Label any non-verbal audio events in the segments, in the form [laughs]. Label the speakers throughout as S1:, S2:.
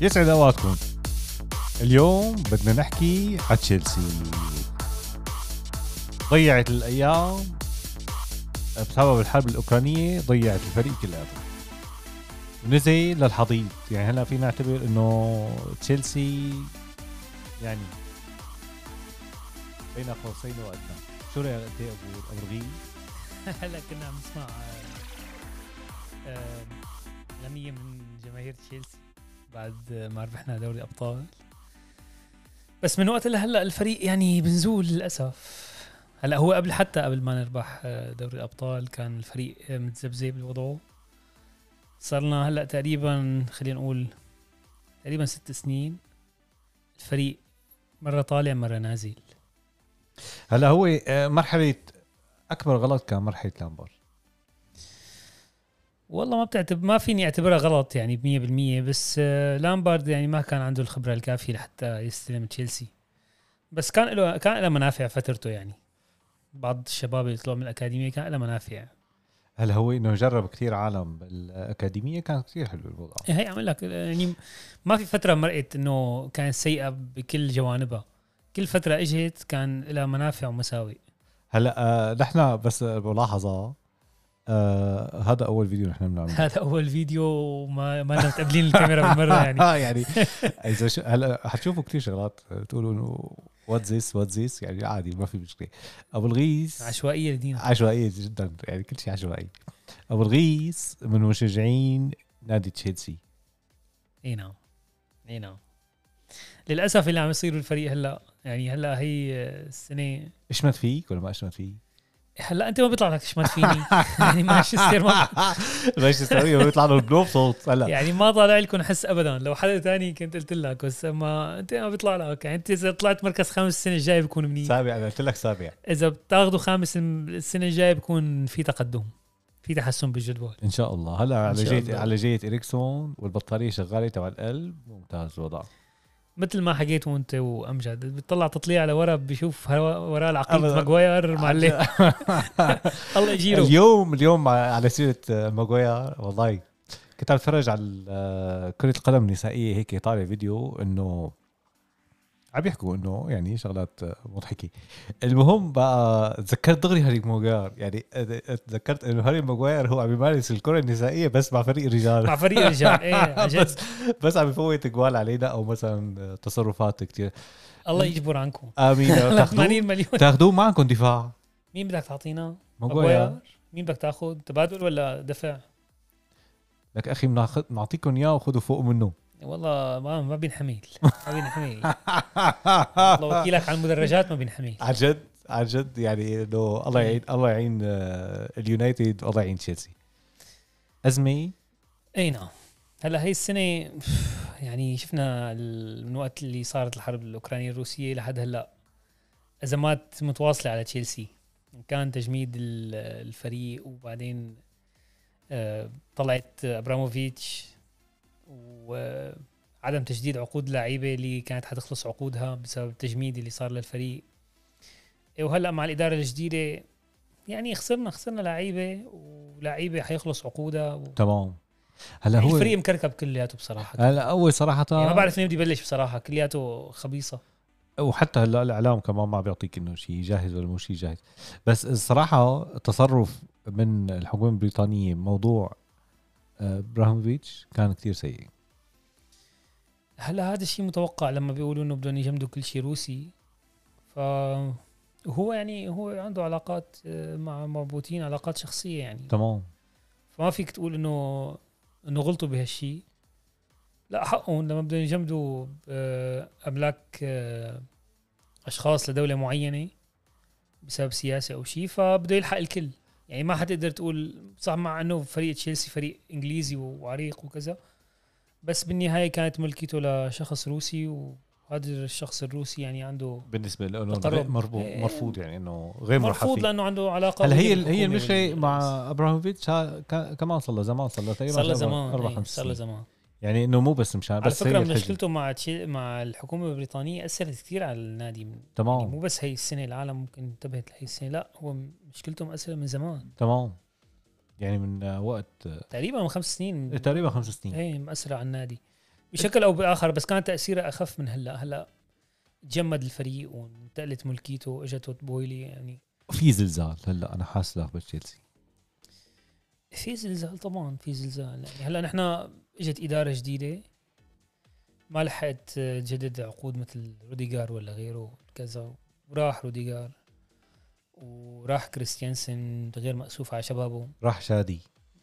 S1: يسعد اوقاتكم اليوم بدنا نحكي على تشيلسي ضيعت الايام بسبب الحرب الاوكرانيه ضيعت الفريق كلياته نزل للحضيض يعني هلا فينا نعتبر انه تشيلسي يعني بين قوسين وادنى شو رايك انت ابو ابو رغيف؟
S2: [laughs] هلا كنا عم نسمع آه، آه، غنية من جماهير تشيلسي بعد آه، ما ربحنا دوري ابطال بس من وقت لهلا الفريق يعني بنزول للاسف هلا هو قبل حتى قبل ما نربح آه، دوري الابطال كان الفريق آه، متذبذب بوضعه صرنا هلا تقريبا خلينا نقول تقريبا ست سنين الفريق مره طالع مره نازل
S1: هلا هو آه، مرحله اكبر غلط كان مرحله لامبر
S2: والله ما بتعتب ما فيني اعتبرها غلط يعني بمية بالمية بس آه، لامبارد يعني ما كان عنده الخبرة الكافية لحتى يستلم تشيلسي بس كان له كان له منافع فترته يعني بعض الشباب اللي طلعوا من الأكاديمية كان له منافع
S1: هلا هو انه جرب كثير عالم بالاكاديميه كان كثير حلو الوضع
S2: يعني هي عم أقول لك آه، يعني ما في فترة مرقت انه كانت سيئة بكل جوانبها كل فترة اجت كان لها منافع ومساوئ [laughs]
S1: هلا آه، نحن بس ملاحظه آه هذا اول فيديو نحن بنعمله [laughs]
S2: هذا اول فيديو وما ما لنا متقابلين الكاميرا بالمرة
S1: [laughs]
S2: يعني
S1: اه يعني اذا شو هلا حتشوفوا كثير شغلات تقولوا انه وات ذيس وات ذيس يعني عادي ما في مشكله ابو الغيث
S2: عشوائية لدينا
S1: عشوائيه جدا يعني كل شيء عشوائي ابو الغيث من مشجعين نادي تشيلسي
S2: اي نعم اي نعم للاسف اللي عم يصير بالفريق هلا يعني هلا هي السنه
S1: اشمت فيك ولا ما اشمت فيك؟
S2: [laughs] هلا انت ما بيطلع لك شمال فيني يعني مانشستر ما [laughs]
S1: مانشستر يونايتد بيطلع له بلوف صوت هلا
S2: يعني ما طالع لكم حس ابدا لو حدا تاني كنت قلت لك بس اما انت ما بيطلع لك يعني انت اذا طلعت مركز خامس السنه الجايه بكون منيح
S1: سابع انا قلت لك سابع
S2: اذا بتاخذوا خامس السنه الجايه بكون في تقدم في تحسن بالجدول
S1: ان شاء الله هلا على
S2: إن شاء
S1: جيت
S2: الله.
S1: على جيت اريكسون والبطاريه شغاله تبع القلب ممتاز الوضع
S2: مثل ما حكيت وانت وامجد بتطلع تطليع لورا بشوف هوا- وراه العقيد
S1: أبداً.
S2: ماجواير مع اللي
S1: [laughs]
S2: الله يجيره
S1: اليوم اليوم على سيره ماجويا والله كنت عم اتفرج على آه، كرة القدم النسائية هيك طالع فيديو انه عم يحكوا انه يعني شغلات آه، مضحكة المهم بقى تذكرت دغري هاري ماجواير يعني آه، تذكرت انه هاري ماجواير هو عم يمارس الكرة النسائية بس مع فريق الرجال
S2: مع [laughs] فريق الرجال ايه عن جد.
S1: بس بس عم يفوت اجوال علينا او مثلا تصرفات كثير
S2: الله يجبر عنكم
S1: امين
S2: [laughs]
S1: تاخذوه
S2: 80 مليون
S1: تاخذوه معكم دفاع
S2: مين بدك تعطينا؟
S1: ماجواير
S2: أبويا؟ مين بدك تاخذ؟ تبادل ولا دفع؟
S1: لك اخي بناخد- بنعطيكم اياه وخذوا فوق
S2: [laughs]
S1: منه
S2: والله ما ما بينحمل ما بينحمل والله وكيلك على المدرجات ما بينحمل
S1: عن جد عن جد يعني انه الله يعين الله يعين آه، اليونايتد والله يعين تشيلسي ازمه
S2: اي نعم هلا هي السنه [sighs] يعني شفنا ال- من وقت اللي صارت الحرب الاوكرانيه الروسيه لحد هلا ازمات متواصله على تشيلسي إن كان تجميد ال- الفريق وبعدين آه، طلعت ابراموفيتش وعدم تجديد عقود لعيبه اللي كانت حتخلص عقودها بسبب التجميد اللي صار للفريق إيه، وهلا مع الاداره الجديده يعني خسرنا خسرنا لعيبه ولعيبه حيخلص عقودها و...
S1: تمام هلا
S2: هو
S1: هو
S2: الفريق يعني مكركب كلياته بصراحه
S1: هلا اول صراحه
S2: يعني ما بعرف منين بدي بلش بصراحه كلياته خبيصه
S1: وحتى هلا الاعلام كمان ما بيعطيك انه شيء جاهز ولا مو شيء جاهز بس الصراحه التصرف من الحكومه البريطانيه بموضوع آه، ابراهيموفيتش كان كتير سيء
S2: هلا هذا الشيء متوقع لما بيقولوا انه بدهم يجمدوا كل شيء روسي ف هو يعني هو عنده علاقات آه، مع مربوطين علاقات شخصيه يعني
S1: تمام
S2: فما فيك تقول انه انه غلطوا بهالشيء لا حقهم لما بدهم يجمدوا آه، املاك آه، اشخاص لدوله معينه بسبب سياسه او شيء فبده يلحق الكل يعني ما حتقدر تقول صح مع انه فريق تشيلسي فريق انجليزي وعريق وكذا بس بالنهايه كانت ملكيته لشخص روسي وهذا الشخص الروسي يعني عنده
S1: بالنسبه لانه
S2: تقرب.
S1: مرفوض
S2: إيه.
S1: مرفوض يعني انه غير مرحب
S2: مرفوض
S1: فيه
S2: لانه عنده علاقه
S1: هلا هي
S2: ويا
S1: هي
S2: الحكومة
S1: المشكله
S2: وال-
S1: مع ابراهيموفيتش ها- كا- كمان صار له زمان صار له تقريبا
S2: صار له
S1: أربع-
S2: زمان
S1: اربع
S2: إيه،
S1: خمس
S2: صار له
S1: سنين
S2: زمان
S1: يعني انه مو بس مشان
S2: على
S1: بس
S2: فكره
S1: هي الحجة.
S2: مشكلته مع تشيل مع الحكومه البريطانيه اثرت كثير على النادي يعني مو
S1: تمام
S2: بس هي السنه العالم ممكن انتبهت لهي السنه لا هو م- مشكلته مأثره من زمان
S1: تمام يعني من آه، وقت آه،
S2: تقريبا من خمس سنين
S1: إيه، تقريبا خمس سنين
S2: إيه. هي مأثره على النادي بشكل او باخر بس كان تاثيره اخف من هلا هلا تجمد الفريق وانتقلت ملكيته اجته بويلي يعني
S1: في زلزال هلا انا حاسس له بتشيلسي
S2: في زلزال طبعا في زلزال يعني هلا نحن اجت اداره جديده ما لحقت آه، تجدد عقود مثل روديجار ولا غيره كذا وراح روديجار وراح كريستيانسن غير مأسوف على شبابه
S1: راح شادي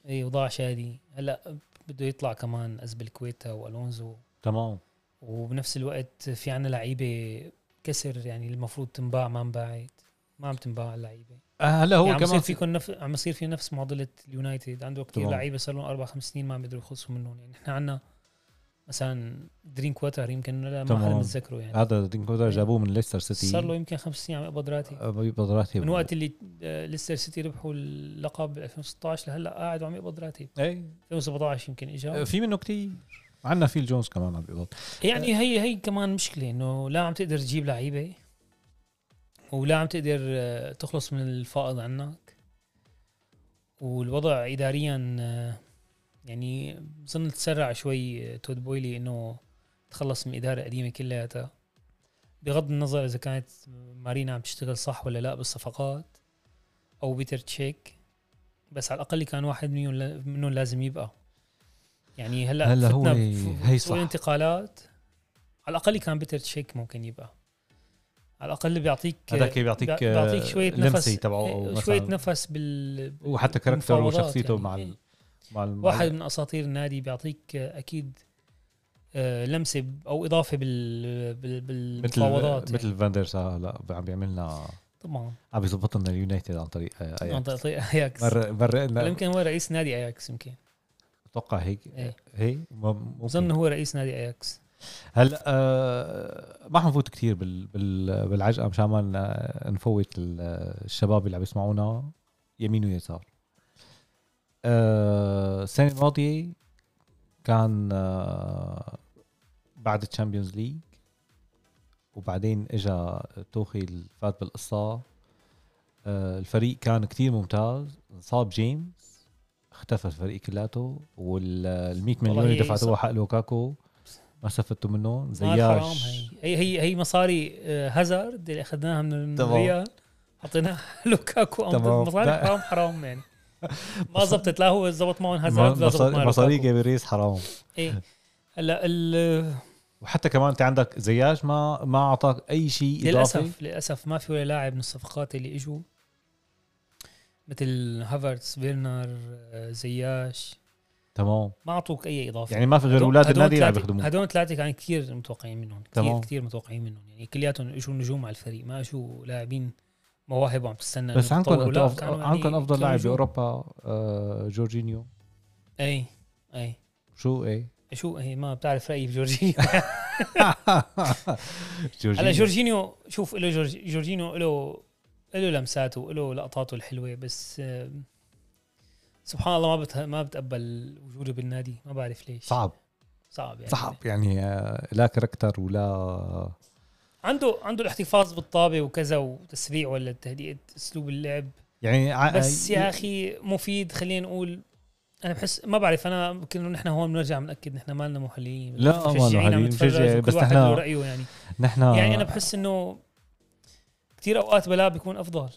S2: اي وضاع شادي هلا بده يطلع كمان ازبلكويتا والونزو
S1: تمام
S2: وبنفس الوقت في عنا لعيبه كسر يعني المفروض تنباع ما انباعت ما عم تنباع اللعيبه
S1: آه، هلا هو
S2: يعني عم
S1: كمان
S2: يصير فيكم نف... عم يصير في نفس معضله اليونايتد عنده كثير
S1: طبعاً.
S2: لعيبه صار لهم اربع خمس سنين ما عم يقدروا يخلصوا منهم يعني نحن عندنا مثلا درين كواتر يمكن لا ما حدا
S1: تمام.
S2: متذكره يعني
S1: هذا دينكودر جابوه من ليستر سيتي
S2: صار له يمكن خمس سنين عم يقبض راتي
S1: آه، بيقبض راتب
S2: من وقت اللي آه، ليستر سيتي ربحوا اللقب 2016 لهلا قاعد وعم يقبض راتب
S1: اي
S2: 2017 يمكن اجى
S1: إيه. في منه كتير عندنا فيل جونز كمان عم بيقبض
S2: يعني هي هي كمان مشكله انه لا عم تقدر تجيب لعيبه ولا عم تقدر آه، تخلص من الفائض عنك والوضع اداريا آه، يعني بظن تسرع شوي آه، تود بويلي انه تخلص من اداره قديمه كلياتها بغض النظر اذا كانت مارينا عم تشتغل صح ولا لا بالصفقات او بيتر تشيك بس على الاقل كان واحد منهم لا- منهم لازم يبقى يعني هلا
S1: هلا هو
S2: فتنا بف-
S1: هي
S2: بسوق
S1: صح.
S2: الانتقالات على الاقل كان بيتر تشيك ممكن يبقى على الاقل بيعطيك
S1: هذاك بيعطيك
S2: بيع- بيعطيك شويه نفس
S1: لمسي تبعه أو
S2: شويه
S1: مثلاً.
S2: نفس بال
S1: وحتى كاركتره
S2: بالمفاوضات
S1: وشخصيته
S2: يعني.
S1: مع ال... مع ال...
S2: واحد من اساطير النادي بيعطيك اكيد آه، لمسه ب- او اضافه بال بال- بالمفاوضات
S1: مثل
S2: يعني.
S1: مثل فاندر سار هلا عم بيعمل لنا
S2: طبعا
S1: عم بيظبط لنا اليونايتد عن طريق آه،
S2: طبعاً
S1: أياكس.
S2: تعطي اياكس
S1: مر مر
S2: هلا
S1: لنا
S2: يمكن هو رئيس نادي اياكس يمكن
S1: اتوقع هيك
S2: إيه.
S1: هي م-
S2: بظن
S1: ممكن
S2: هو رئيس نادي اياكس
S1: هلا آه، ما حنفوت كثير بال... بال... بالعجقه مشان ما ن- نفوت ال- الشباب اللي عم يسمعونا يمين ويسار آه، السنه الماضيه كان آه، بعد الشامبيونز ليج وبعدين اجى توخيل فات بالقصه آه، الفريق كان كتير ممتاز انصاب جيمس اختفى الفريق كلاته والميك مليون اللي
S2: والله هي
S1: دفعتوها
S2: صح.
S1: حق لوكاكو ما استفدتوا منهم
S2: مال حرام
S1: زياش
S2: هي هي هي, هي مصاري آه، هازارد اللي اخذناها من
S1: تمام.
S2: الريال حطيناها [laughs] لوكاكو أم-
S1: تمام.
S2: مصاري
S1: لا.
S2: حرام
S1: [laughs]
S2: حرام يعني ما زبطت لا هو زبط معهم هازارد لا زبط معهم
S1: مصاري
S2: لوكاكو.
S1: جابريس حرام
S2: ايه هلا ال-
S1: وحتى كمان انت عندك زياش ما ما اعطاك اي شيء اضافي
S2: للاسف للاسف ما في ولا لاعب من الصفقات اللي اجوا مثل هافرتس فيرنر آه، زياش
S1: تمام
S2: ما اعطوك اي اضافه
S1: يعني ما في غير
S2: هدول-
S1: اولاد
S2: هدول
S1: النادي اللي عم
S2: ثلاثة-
S1: يخدموه
S2: هدول ثلاثه كان كثير متوقعين منهم كثير
S1: تمام.
S2: كثير متوقعين منهم يعني كلياتهم اجوا نجوم على الفريق ما اجوا لاعبين مواهب وعم تستنى
S1: بس
S2: إنه
S1: عندكم
S2: يتطوروا، لا،
S1: أفضل
S2: كانوا يعني
S1: عندكم افضل
S2: كانوا
S1: لاعب
S2: نجوم.
S1: باوروبا آه، جورجينيو
S2: اي اي
S1: شو [laughs] ايه
S2: شو هي ما بتعرف رايي بجورجينيو
S1: [laughs] جورجينيو
S2: هلا جورجينيو شوف له جورج... جورجينيو له له لمساته له لقطاته الحلوه بس آه، سبحان الله ما بت... ما بتقبل وجوده بالنادي ما بعرف ليش
S1: صعب
S2: صعب يعني
S1: صعب يعني آه، لا كاركتر ولا
S2: عنده عنده الاحتفاظ بالطابه وكذا وتسريع ولا تهدئه اسلوب اللعب
S1: يعني ع-
S2: بس يا اخي مفيد خلينا نقول انا بحس ما بعرف انا كنا نحن هون بنرجع بناكد نحن مالنا محللين
S1: لا، ما لنا
S2: مشجعين عم
S1: محللين،
S2: نتفرج
S1: مشجع،
S2: وكل
S1: بس
S2: واحد
S1: نحن-
S2: له رايه يعني
S1: نحن
S2: يعني انا بحس انه كثير اوقات بلا بيكون افضل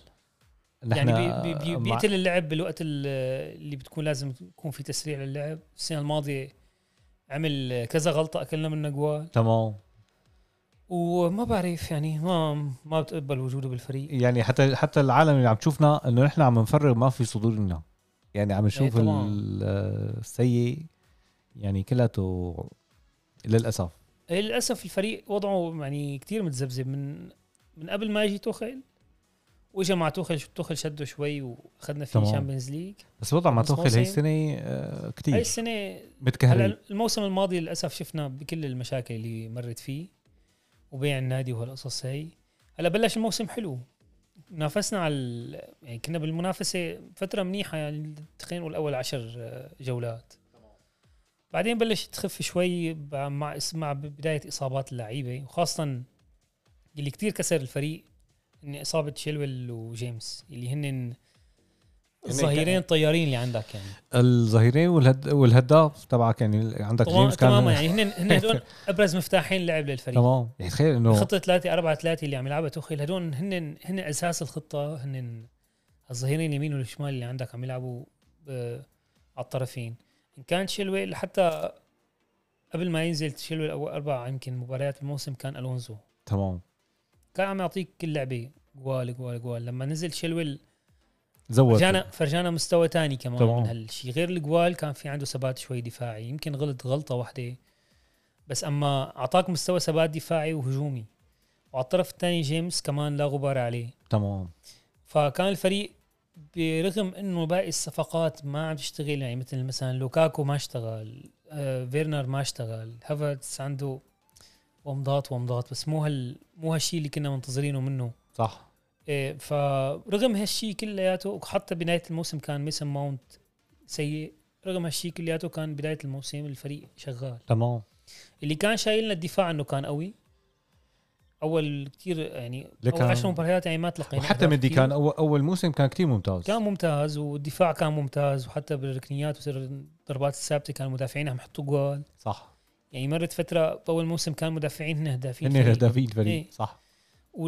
S1: نحن
S2: يعني بي بي بي
S1: مع-
S2: بيقتل اللعب بالوقت ال- اللي بتكون لازم يكون في تسريع للعب السنه الماضيه عمل كذا غلطه اكلنا منه جوال
S1: تمام
S2: وما بعرف يعني ما ما بتقبل وجوده بالفريق
S1: يعني حتى حتى العالم اللي عم تشوفنا انه نحن عم نفرغ ما في صدورنا يعني عم نشوف
S2: إيه طبعاً.
S1: ال- السيء يعني كلته للاسف
S2: للاسف الفريق وضعه يعني كتير متذبذب من من قبل ما يجي توخل واجا مع توخل توخل شده شوي واخذنا فيه
S1: تمام.
S2: شامبيونز ليج
S1: بس وضع ما
S2: بس
S1: توخل هي
S2: موسم.
S1: السنه آه،
S2: هاي
S1: كتير
S2: السنه
S1: متكهرب
S2: هلا الموسم الماضي للاسف شفنا بكل المشاكل اللي مرت فيه وبيع النادي وهالقصص هي هلا بلش الموسم حلو نافسنا على ال- يعني كنا بالمنافسه فتره منيحه يعني خلينا نقول اول عشر آه، جولات بعدين بلشت تخف شوي ب- مع اس- مع بدايه اصابات اللعيبه وخاصه اللي كتير كسر الفريق ان اصابه شيلويل وجيمس اللي هن الظهيرين الطيارين اللي عندك يعني
S1: الظهيرين والهد... والهداف تبعك يعني عندك
S2: طبعا
S1: جيمس كان
S2: تماما يعني هن هن هدول ابرز مفتاحين لعب للفريق
S1: [laughs] تمام يعني تخيل انه
S2: خطه 3 4 3 اللي عم يلعبها توخيل هدول هن هن اساس الخطه هن الظهيرين اليمين والشمال اللي عندك عم يلعبوا آه، على الطرفين ان كان شيلويل حتى قبل ما ينزل شيلويل اول اربع يمكن مباريات الموسم كان الونزو
S1: تمام
S2: كان عم يعطيك كل لعبه جوال جوال جوال لما نزل شيلويل
S1: زود
S2: فرجانا فرجانا مستوى تاني كمان
S1: تمام.
S2: طبعا. من هالشيء غير الجوال كان في عنده ثبات شوي دفاعي يمكن غلط غلطه واحده بس اما اعطاك مستوى ثبات دفاعي وهجومي وعلى الطرف الثاني جيمس كمان لا غبار عليه
S1: تمام
S2: فكان الفريق برغم انه باقي الصفقات ما عم تشتغل يعني مثل مثلا لوكاكو ما اشتغل آه فيرنر ما اشتغل هافرتس عنده ومضات ومضات بس مو هال مو هالشيء اللي كنا منتظرينه منه
S1: صح
S2: إيه، فرغم هالشيء كلياته وحتى بنهايه الموسم كان ميسن ماونت سيء رغم هالشيء كلياته كان بدايه الموسم الفريق شغال
S1: تمام
S2: اللي كان شايلنا الدفاع انه كان قوي اول كثير يعني اول
S1: لكان-
S2: 10 مباريات يعني ما تلقينا
S1: وحتى
S2: أهداف
S1: مدي
S2: كتير.
S1: كان اول, أول موسم كان كتير ممتاز
S2: كان ممتاز والدفاع كان ممتاز وحتى بالركنيات والضربات الثابته كان المدافعين عم يحطوا جوال
S1: صح
S2: يعني مرت فتره باول موسم كان المدافعين هن هدافين
S1: هن
S2: الفريق.
S1: هدافين فريق
S2: إيه.
S1: صح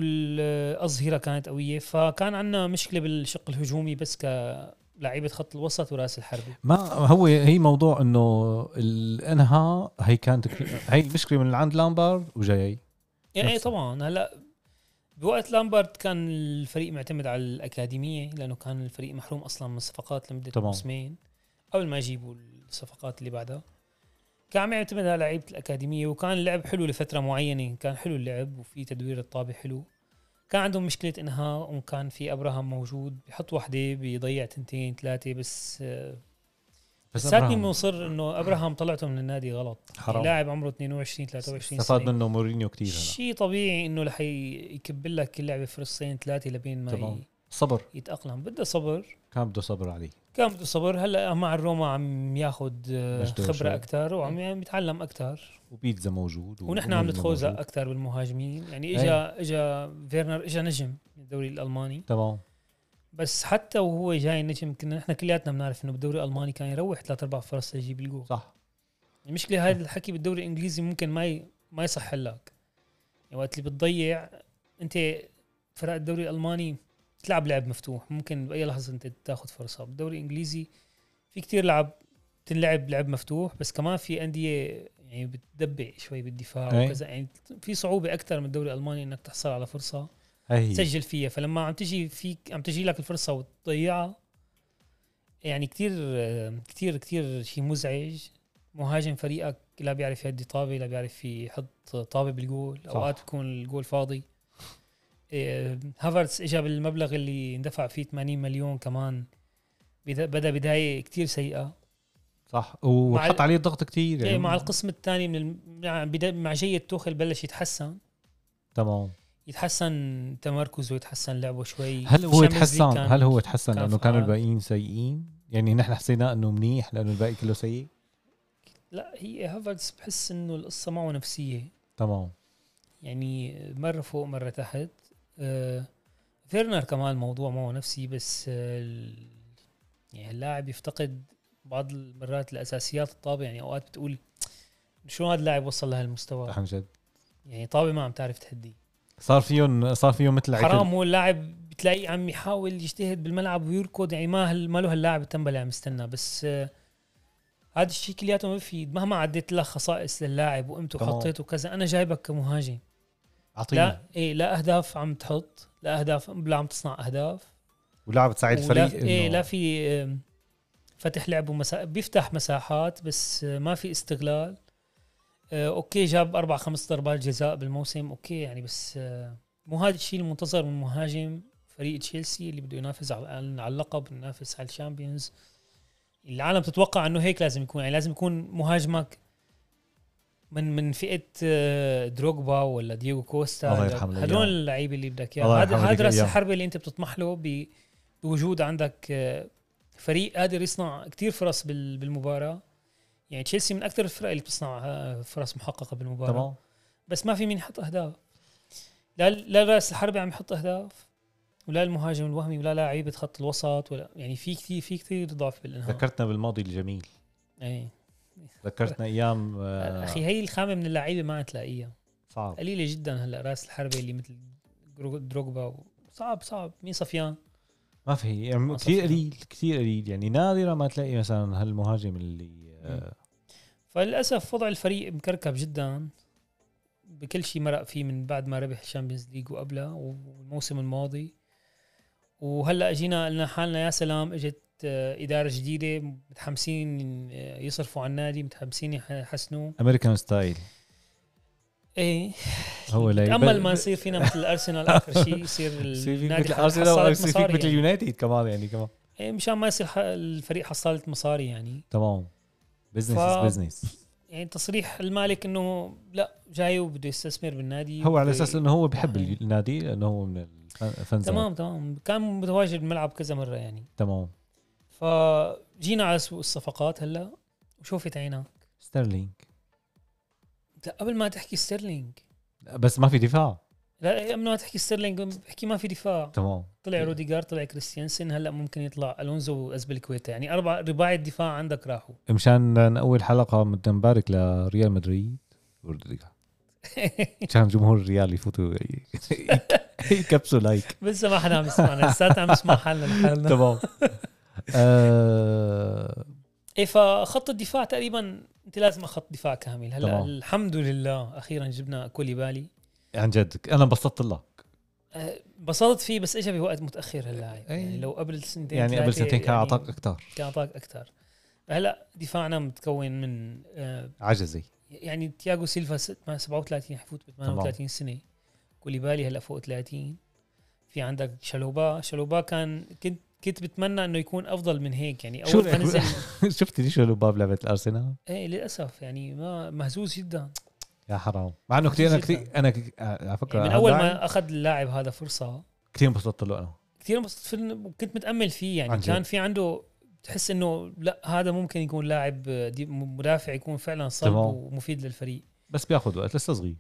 S2: والاظهره كانت قويه فكان عندنا مشكله بالشق الهجومي بس كلاعيبه خط الوسط وراس الحربه
S1: ما هو هي موضوع انه ال- انها هي كانت كتير- هي المشكله من عند لامبارد وجاي
S2: يعني إيه
S1: نفسها.
S2: طبعا هلا بوقت لامبرت كان الفريق معتمد على الاكاديميه لانه كان الفريق محروم اصلا من صفقات لمده
S1: تمام.
S2: موسمين قبل ما يجيبوا الصفقات اللي بعدها كان عم يعتمد على لعيبه الاكاديميه وكان اللعب حلو لفتره معينه كان حلو اللعب وفي تدوير الطابه حلو كان عندهم مشكله انهاء وكان في ابراهام موجود بيحط وحده بيضيع تنتين ثلاثه بس آه،
S1: بس
S2: لساتني
S1: أبراهام
S2: مصر انه ابراهام طلعته من النادي غلط
S1: حرام.
S2: لاعب عمره 22 23
S1: استفاد
S2: سنه
S1: منه مورينيو كتير هلا
S2: شيء طبيعي انه رح ي- يكبل لك كل لعبه فرصتين ثلاثه لبين ما
S1: تمام.
S2: ي-
S1: صبر
S2: يتاقلم بده صبر
S1: كان بده صبر عليه
S2: كان بده صبر هلا مع الروما عم ياخذ
S1: مجدوه شوي.
S2: خبره اكثر وعم
S1: إيه.
S2: عم يتعلم اكثر
S1: وبيتزا موجود
S2: ونحن عم
S1: ومورينيو
S2: نتخوزق
S1: موجود.
S2: اكثر بالمهاجمين يعني
S1: أي.
S2: اجى اجى فيرنر اجى نجم من الدوري الالماني
S1: تمام
S2: بس حتى وهو جاي نجم كنا نحن كلياتنا بنعرف انه بالدوري الالماني كان يروح ثلاث اربع فرص ليجيب الجول
S1: صح
S2: المشكله هذا الحكي بالدوري الانجليزي ممكن ما ي... ما يصح لك يعني وقت اللي بتضيع انت فرق الدوري الالماني تلعب لعب مفتوح ممكن باي لحظه انت تاخذ فرصه بالدوري الانجليزي في كتير لعب تنلعب لعب مفتوح بس كمان في انديه يعني بتدبع شوي بالدفاع
S1: أي.
S2: وكذا يعني في صعوبه اكثر من الدوري الالماني انك تحصل على فرصه
S1: هي هي
S2: تسجل فيها فلما عم تجي فيك عم تجي لك الفرصه وتضيعها يعني كتير كتير كتير شيء مزعج مهاجم فريقك لا بيعرف يهدي طابه لا بيعرف يحط طابه بالجول
S1: صح.
S2: اوقات بيكون الجول فاضي إيه، هافرتس اجى بالمبلغ اللي اندفع فيه 80 مليون كمان بدا بدا بدايه كتير سيئه
S1: صح وحط
S2: ال-
S1: عليه ضغط كتير
S2: يعني مع القسم الثاني من الم- مع بدا- مع جاية توخل بلش يتحسن
S1: تمام
S2: يتحسن تمركزه يتحسن لعبه
S1: هل هو
S2: شوي بالشامبيونز ليج
S1: تحسن
S2: كان-
S1: هل هو تحسن
S2: كان
S1: لانه كانوا
S2: فعال.
S1: الباقيين سيئين يعني نحن حسينا انه منيح لانه الباقي كله سيء
S2: لا هي هافرتس بحس انه القصه معه نفسيه
S1: تمام
S2: يعني مره فوق مره تحت آه، فيرنر كمان الموضوع معه نفسي بس آه، ال- يعني اللاعب يفتقد بعض المرات الاساسيات الطابه يعني اوقات بتقول شو هذا اللاعب وصل لهالمستوى
S1: عن جد
S2: يعني طابه ما عم تعرف تهدي
S1: صار فيهم صار فيهم مثل عتل.
S2: حرام هو اللاعب بتلاقيه عم يحاول يجتهد بالملعب ويركض يعني ما هل ما له هاللاعب التنبل اللي عم يستنى بس آه، هذا الشيء كلياته ما بفيد مهما عديت له خصائص للاعب وقيمته
S1: تمام. طيب.
S2: وحطيته وكذا انا جايبك كمهاجم
S1: اعطينا
S2: لا ايه لا اهداف عم تحط لا اهداف لا عم تصنع اهداف
S1: ولاعب تساعد
S2: ولا
S1: الفريق
S2: ايه
S1: إنه-
S2: لا في آم، فتح لعبه مسا... بيفتح مساحات بس آه، ما في استغلال آه، اوكي جاب اربع خمس ضربات جزاء بالموسم اوكي يعني بس آه، مو هذا الشيء المنتظر من مهاجم فريق تشيلسي اللي بده ينافس على على اللقب ينافس على الشامبيونز العالم تتوقع انه هيك لازم يكون يعني لازم يكون مهاجمك من من فئه آه، دروغبا ولا دييغو كوستا
S1: الله يرحمه
S2: هدول
S1: الأيام.
S2: اللعيبه اللي بدك
S1: الله
S2: اياها هذا
S1: يرحمه
S2: هذا
S1: ذيك
S2: راس
S1: الأيام.
S2: الحربه اللي انت بتطمح له ب- بوجود عندك آه، فريق قادر يصنع كتير فرص بال- بالمباراه يعني تشيلسي من اكثر الفرق اللي بتصنع آه، فرص محققه بالمباراه
S1: تمام
S2: بس ما في مين يحط اهداف لا لا راس الحربة عم يحط اهداف ولا المهاجم الوهمي ولا لاعيبه خط الوسط ولا يعني في كثير في كثير ضعف بالانهاء
S1: ذكرتنا بالماضي الجميل
S2: اي
S1: ذكرتنا ايام آه،
S2: اخي هي الخامه من اللعيبه ما تلاقيها
S1: صعب
S2: قليله جدا هلا راس الحربه اللي مثل درو- دروغبا و- صعب صعب مين صفيان
S1: ما في يعني
S2: وصف
S1: كثير
S2: يعني.
S1: قليل كثير قليل يعني نادرا ما تلاقي مثلا هالمهاجم اللي آه،
S2: فللاسف وضع الفريق مكركب جدا بكل شيء مرق فيه من بعد ما ربح الشامبيونز ليج وقبلها والموسم الماضي وهلا جينا قلنا حالنا يا سلام اجت آه، اداره جديده متحمسين آه، يصرفوا على النادي متحمسين يح- يحسنوه
S1: امريكان ستايل
S2: ايه
S1: هو لا
S2: تامل ما نصير فينا مثل الارسنال اخر
S1: [laughs]
S2: شيء يصير
S1: إيه، يصير فيك
S2: النادي
S1: مثل
S2: ح-
S1: ارسنال او
S2: حصلت
S1: يصير فيك
S2: مصاري
S1: مثل
S2: يعني.
S1: اليونايتد كمان يعني كمان
S2: إيه مشان ما يصير ح- الفريق حصلت مصاري يعني
S1: تمام بزنس
S2: ف-
S1: بزنس
S2: يعني تصريح المالك انه لا جاي وبده يستثمر بالنادي
S1: هو على
S2: وبده-
S1: اساس انه هو بحب
S2: يعني.
S1: النادي لانه هو من الفنز
S2: تمام تمام كان متواجد بالملعب كذا مره يعني
S1: تمام
S2: فجينا على سوق الصفقات هلا وشوفت عينك
S1: ستيرلينج
S2: لا قبل ما تحكي ستيرلينج
S1: بس ما في دفاع
S2: لا قبل ما تحكي ستيرلينج بحكي ما في دفاع
S1: تمام
S2: طلع روديجار طلع كريستيانسن هلا ممكن يطلع الونزو وازبل الكويت يعني اربع رباعي الدفاع عندك راحوا
S1: مشان نأول حلقه بدنا نبارك لريال مدريد [laughs] وروديجر. مشان جمهور الريال
S2: [laughs]
S1: يفوتوا ي- يكبسوا لايك
S2: لسه ما حدا عم يسمعنا لساتنا عم نسمع حالنا لحالنا
S1: تمام [laughs] آه،
S2: ايه فخط الدفاع تقريبا انت لازم خط دفاع كامل هلا
S1: تمام.
S2: الحمد لله اخيرا جبنا كوليبالي
S1: عن جد انا انبسطت لك
S2: أه، انبسطت فيه بس اجى بوقت متاخر هلا
S1: أي.
S2: يعني لو قبل سنتين
S1: إيه. يعني قبل
S2: ثلاثة
S1: سنتين كان
S2: يعني
S1: اعطاك اكثر
S2: كان اعطاك اكثر هلا دفاعنا متكون من أه،
S1: [laughs] عجزي
S2: يعني تياغو سيلفا ست- ما 37 حيفوت ب 38 سنه كوليبالي هلا فوق 30 في عندك شالوبا شالوبا كان كنت كنت بتمنى انه يكون افضل من هيك يعني
S1: شو
S2: اول ما
S1: [laughs] رأيك؟
S2: نزل
S1: شفت ليش الباب لعبه الارسنال
S2: ايه للاسف يعني ما مهزوز جدا
S1: يا حرام مع انه كثير انا
S2: كتير
S1: كثير انا ك- آه، على فكره
S2: يعني من
S1: هذا
S2: اول ما اخذ اللاعب هذا فرصه
S1: كثير انبسطت له انا
S2: كثير انبسطت فيه وكنت متامل فيه يعني
S1: عن جد.
S2: كان في عنده تحس انه لا هذا ممكن يكون لاعب دي- مدافع يكون فعلا صلب
S1: تمام.
S2: ومفيد للفريق
S1: بس بياخذ وقت لسه صغير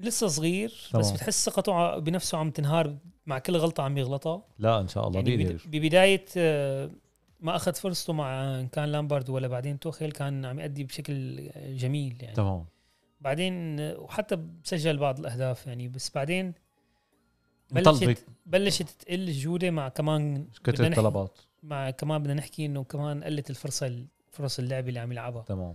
S2: لسه صغير بس
S1: تمام.
S2: بتحس ثقته ع- بنفسه عم تنهار مع كل غلطه عم يغلطها
S1: لا ان شاء الله
S2: يعني
S1: بيقدر
S2: بد- ببدايه آه، ما اخذ فرصته مع ان كان لامبارد ولا بعدين توخيل كان عم يأدي بشكل جميل يعني
S1: تمام
S2: بعدين آه، وحتى سجل بعض الاهداف يعني بس بعدين
S1: انطلقت
S2: بلشت بلشت تقل الجوده مع كمان بدنا
S1: كثر
S2: نحكي-
S1: الطلبات
S2: مع كمان بدنا نحكي انه كمان قلت الفرصه فرص اللعب اللي عم يلعبها
S1: تمام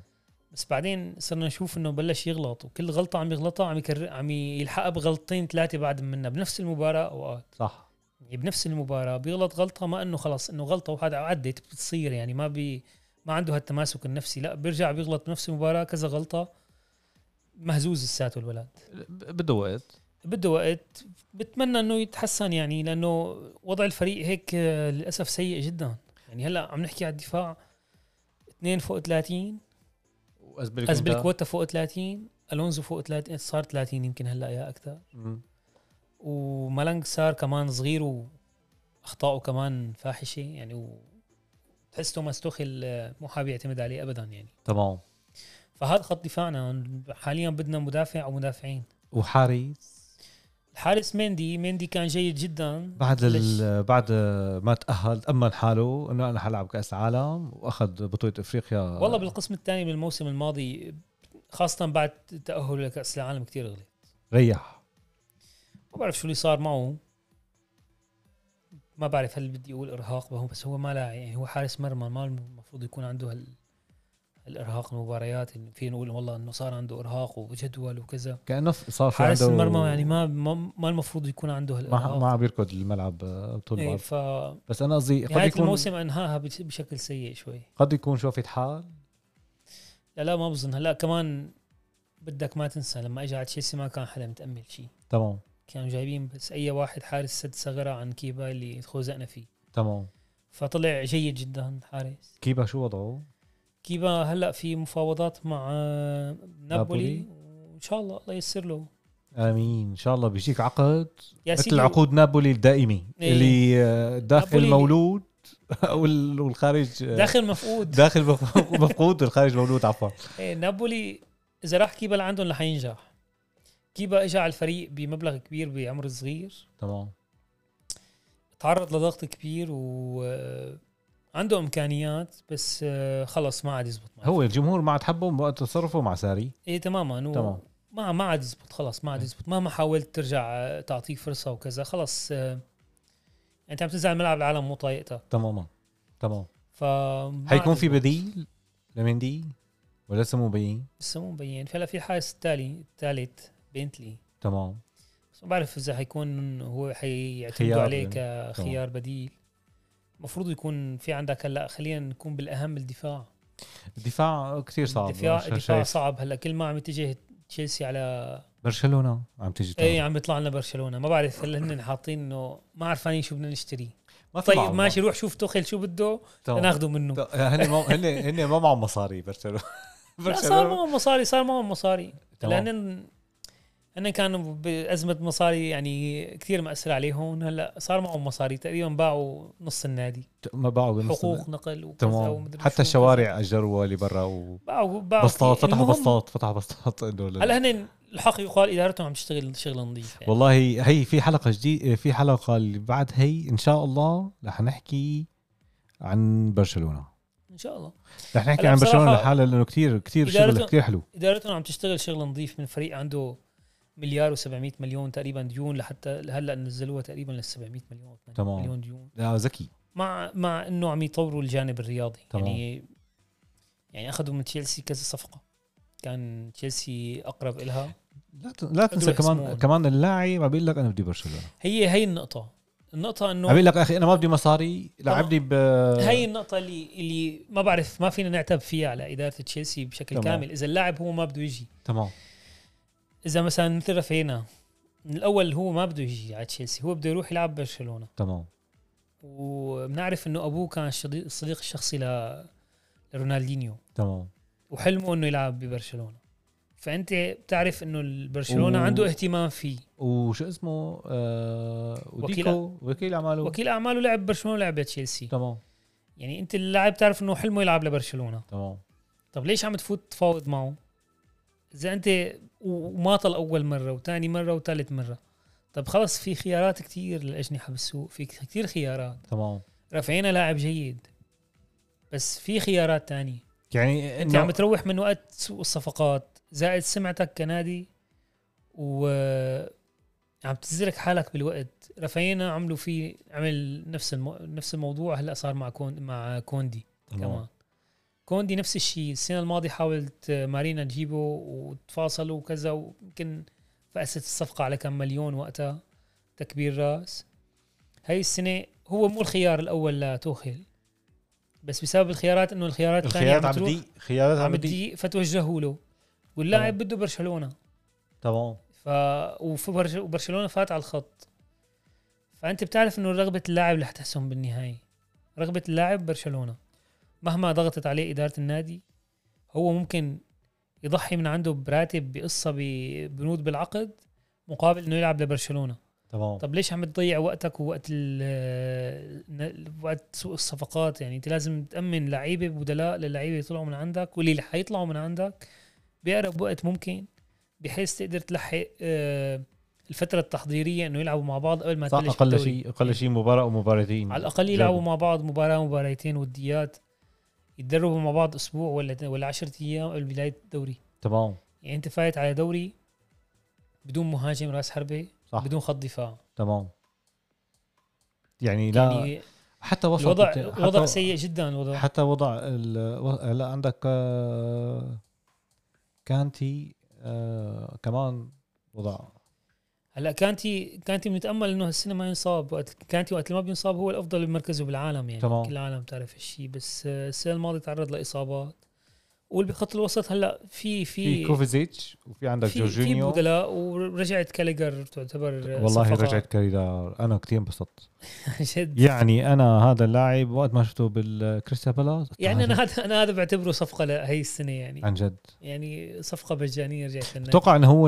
S2: بس بعدين صرنا نشوف انه بلش يغلط وكل غلطه عم يغلطها عم يكرر عم يلحقها بغلطتين ثلاثه بعد منا بنفس المباراه اوقات
S1: صح
S2: يعني بنفس المباراه بيغلط غلطه ما انه خلص انه غلطه وهذا عدت بتصير يعني ما بي ما عنده هالتماسك النفسي لا بيرجع بيغلط بنفس المباراه كذا غلطه مهزوز لساته الولد
S1: ب- بده وقت
S2: بده وقت بتمنى انه يتحسن يعني لانه وضع الفريق هيك آه، للاسف سيء جدا يعني هلا عم نحكي على الدفاع اثنين فوق 30 ازبلكوتا فوق 30 الونزو فوق 30 صار 30 يمكن هلا يا اكثر
S1: مم.
S2: ومالانج صار كمان صغير واخطائه كمان فاحشه يعني و تحس توماس توخيل آه، مو حابب يعتمد عليه ابدا يعني
S1: تمام
S2: فهذا خط دفاعنا حاليا بدنا مدافع او مدافعين
S1: وحارس
S2: الحارس مندي مندي كان جيد جدا
S1: بعد
S2: ليش؟
S1: ال... بعد ما تاهل تامن حاله انه انا حلعب كاس عالم واخذ بطوله افريقيا
S2: والله بالقسم الثاني من الموسم الماضي خاصة بعد تأهله لكأس العالم كتير غلط
S1: ريح
S2: ما بعرف شو اللي صار معه ما بعرف هل بدي أقول إرهاق بهو بس هو ما لاعب يعني هو حارس مرمى ما المفروض يكون عنده هال الإرهاق المباريات إن في نقول والله إنه صار عنده إرهاق وجدول وكذا
S1: كانه ف- صار في
S2: حارس
S1: عنده-
S2: المرمى يعني ما ما ما المفروض يكون عنده
S1: ما ما
S2: هالإرهاق
S1: عم يركض الملعب آه، طول
S2: إيه
S1: الوقت
S2: ف نهاية
S1: بس انا قصدي قد يكون
S2: الموسم أنهاها بش- بشكل سيء شوي
S1: قد يكون شوفة حال
S2: لا لا ما بظن هلا كمان بدك ما تنسى لما اجى على تشيلسي ما كان حدا متامل شيء
S1: تمام
S2: كانوا جايبين بس اي واحد حارس سد ثغره عن كيبا اللي خزقنا فيه
S1: تمام
S2: فطلع جيد جدا حارس
S1: كيبا شو وضعه؟
S2: كيبا هلا في مفاوضات مع آه، نابولي
S1: نابولي.
S2: وان شاء الله الله ييسر له
S1: امين ان شاء الله بيجيك عقد
S2: يا
S1: مثل عقود نابولي الدائمي
S2: إيه.
S1: اللي آه، داخل
S2: نابولي-
S1: مولود [laughs] وال- والخارج آه،
S2: داخل
S1: [laughs]
S2: مفقود
S1: داخل مف- مفقود والخارج مولود عفوا
S2: إيه، نابولي اذا راح كيبا لعندهم رح ينجح كيبا اجى على الفريق بمبلغ كبير بعمر صغير
S1: تمام
S2: تعرض لضغط كبير وعنده امكانيات بس آه، خلص ما عاد يزبط معه
S1: هو الجمهور ما عاد حبه بوقت تصرفه مع ساري
S2: ايه تماما هو
S1: تمام.
S2: ما ما عاد يزبط خلص ما عاد
S1: إيه.
S2: يزبط مهما حاولت ترجع آه، تعطيه فرصه وكذا خلص آه، انت عم تنزل على الملعب العالم مو طايقتك
S1: تماما تمام
S2: ف
S1: حيكون في بديل لمندي ولا لسه مو مبين
S2: لسه مو مبين فهلا في الحارس التالي الثالث بنتلي
S1: تمام
S2: بس ما بعرف اذا حيكون هو حيعتمدوا
S1: خيار
S2: عليه
S1: يعني.
S2: كخيار بديل المفروض يكون في عندك هلا خلينا نكون بالاهم الدفاع
S1: الدفاع كثير صعب
S2: الدفاع
S1: شا-
S2: الدفاع
S1: شايف.
S2: صعب هلا كل ما عم يتجه تشيلسي على
S1: برشلونه عم تيجي
S2: اي
S1: تلعب.
S2: عم بيطلع لنا برشلونه ما بعرف هل هن حاطين انه ما عرفانين شو بدنا نشتري
S1: ما في
S2: طيب
S1: معهم.
S2: ماشي روح شوف توخل شو بده
S1: تمام.
S2: ناخده منه
S1: ط- هن ما- هن هن ما معهم مصاري برشلونه
S2: لا صار معهم مصاري صار معهم مصاري
S1: تمام.
S2: لان هن كانوا بازمه مصاري يعني كثير مأثر عليهم هلا صار معهم مصاري تقريبا باعوا نص النادي
S1: ما باعوا بنص
S2: حقوق
S1: النهائي.
S2: نقل وكذا
S1: تمام
S2: ومدري شو
S1: حتى الشوارع اجروها لبرا و
S2: وكذا. باعوا باعوا
S1: بسطات
S2: كتير.
S1: فتحوا
S2: المهم،
S1: بسطات فتحوا بسطات [laughs] انه لل-
S2: هلا هن الحق يقال ادارتهم عم تشتغل شغل نظيف يعني.
S1: والله هي في حلقه جديده في حلقه اللي بعد هي ان شاء الله رح نحكي عن برشلونه
S2: ان شاء الله
S1: رح نحكي
S2: هلا
S1: عن برشلونه
S2: بصراحة
S1: لحالها لانه كثير كثير شغل
S2: إدارته-
S1: كثير حلو
S2: ادارتهم عم تشتغل شغل نظيف من فريق عنده مليار و700 مليون تقريبا ديون لحتى هلا نزلوها تقريبا لل 700 مليون 800
S1: تمام.
S2: مليون ديون
S1: لا ذكي
S2: مع مع انه عم يطوروا الجانب الرياضي
S1: تمام.
S2: يعني يعني اخذوا من تشيلسي كذا صفقه كان تشيلسي اقرب إلها
S1: لا ت- لا تنسى
S2: يحسمون.
S1: كمان كمان اللاعب عم بيقول لك انا بدي برشلونه
S2: هي هي النقطه النقطه
S1: عم
S2: انه
S1: بيقول لك اخي انا ما بدي مصاري لعبني ب
S2: هي النقطه اللي اللي ما بعرف ما فينا نعتب فيها على اداره تشيلسي بشكل
S1: تمام.
S2: كامل اذا اللاعب هو ما بده يجي
S1: تمام
S2: اذا مثلا مثل رافينا من الاول هو ما بده يجي على تشيلسي هو بده يروح يلعب برشلونه
S1: تمام
S2: وبنعرف انه ابوه كان الشدي- الصديق الشخصي ل- لرونالدينيو
S1: تمام
S2: وحلمه انه يلعب ببرشلونه فانت بتعرف انه برشلونه
S1: و-
S2: عنده اهتمام فيه
S1: وشو اسمه آه
S2: وكيل-
S1: وديكو وكيل اعماله
S2: وكيل اعماله لعب برشلونه ولعب لتشيلسي
S1: تمام
S2: يعني انت اللاعب بتعرف انه حلمه يلعب لبرشلونه
S1: تمام
S2: طب ليش عم تفوت تفاوض معه اذا انت و- وماطل اول مره وثاني مره وثالث مره طب خلص في خيارات كتير للاجنحه بالسوق في كتير خيارات
S1: تمام
S2: رافعينا لاعب جيد بس في خيارات تانية
S1: يعني
S2: انت
S1: إنه-
S2: عم تروح من وقت سوق الصفقات زائد سمعتك كنادي و عم تزرك حالك بالوقت رافعينا عملوا فيه عمل نفس المو... نفس الموضوع هلا صار مع كون... مع كوندي
S1: تمام.
S2: كمان كوندي نفس الشيء السنه الماضيه حاولت مارينا تجيبه وتفاصلوا وكذا ويمكن فقست الصفقه على كم مليون وقتها تكبير راس هاي السنه هو مو الخيار الاول لتوخيل بس بسبب الخيارات انه الخيارات الثانيه
S1: الخيارات
S2: عم
S1: عم
S2: بتروح
S1: بتضيق خيارات
S2: عم
S1: عم بتضيق
S2: بتضيق فتوجهوا له واللاعب
S1: تمام.
S2: بده برشلونه
S1: تمام
S2: ف وف- برج- وبرشلونه فات على الخط فانت بتعرف انه رغبه اللاعب رح تحسم بالنهايه رغبه اللاعب برشلونه مهما ضغطت عليه اداره النادي هو ممكن يضحي من عنده براتب بقصه ببنود بالعقد مقابل انه يلعب لبرشلونه
S1: تمام
S2: طب ليش عم تضيع وقتك ووقت ال- ن- وقت سوق الصفقات يعني انت لازم تامن لعيبه بدلاء للعيبه يطلعوا من عندك واللي رح يطلعوا من عندك باقرب وقت ممكن بحيث تقدر تلحق آه، الفتره التحضيريه انه يلعبوا مع بعض قبل ما
S1: صح
S2: تبلش
S1: اقل
S2: الدوري.
S1: شيء اقل شيء مباراه ومباراتين
S2: على الاقل
S1: جابوا.
S2: يلعبوا مع بعض مباراه مباراتين وديات يتدربوا مع بعض اسبوع ولا ولا 10 ايام قبل بدايه الدوري
S1: تمام
S2: يعني انت فايت على دوري بدون مهاجم راس حربه
S1: صح.
S2: بدون خط دفاع
S1: تمام يعني لا
S2: يعني
S1: حتى وسط
S2: الوضع
S1: حتى-
S2: الوضع سيء جدا الوضع
S1: حتى وضع ال- و- هلا عندك آه، كانتي آه، كمان وضع
S2: هلا كانتي كانتي بنتامل انه هالسنه ما ينصاب وقت كانتي وقت اللي ما بينصاب هو الافضل بمركزه بالعالم يعني
S1: تمام.
S2: كل العالم تعرف هالشيء بس آه، السنه الماضيه تعرض لاصابات وبخط الوسط هلا في
S1: في
S2: في
S1: كوفيزيتش وفي عندك
S2: في في
S1: جورجينيو
S2: بدلاء ورجعت كاليجر تعتبر آه،
S1: والله
S2: صفقة.
S1: رجعت كاريدار انا كثير انبسطت
S2: [laughs] جد
S1: يعني انا هذا اللاعب وقت ما شفته بالكريستال بالاس
S2: يعني انا هذا انا هذا بعتبره صفقه لهي السنه يعني
S1: عن جد
S2: يعني صفقه مجانيه رجعت للنادي
S1: اتوقع انه هو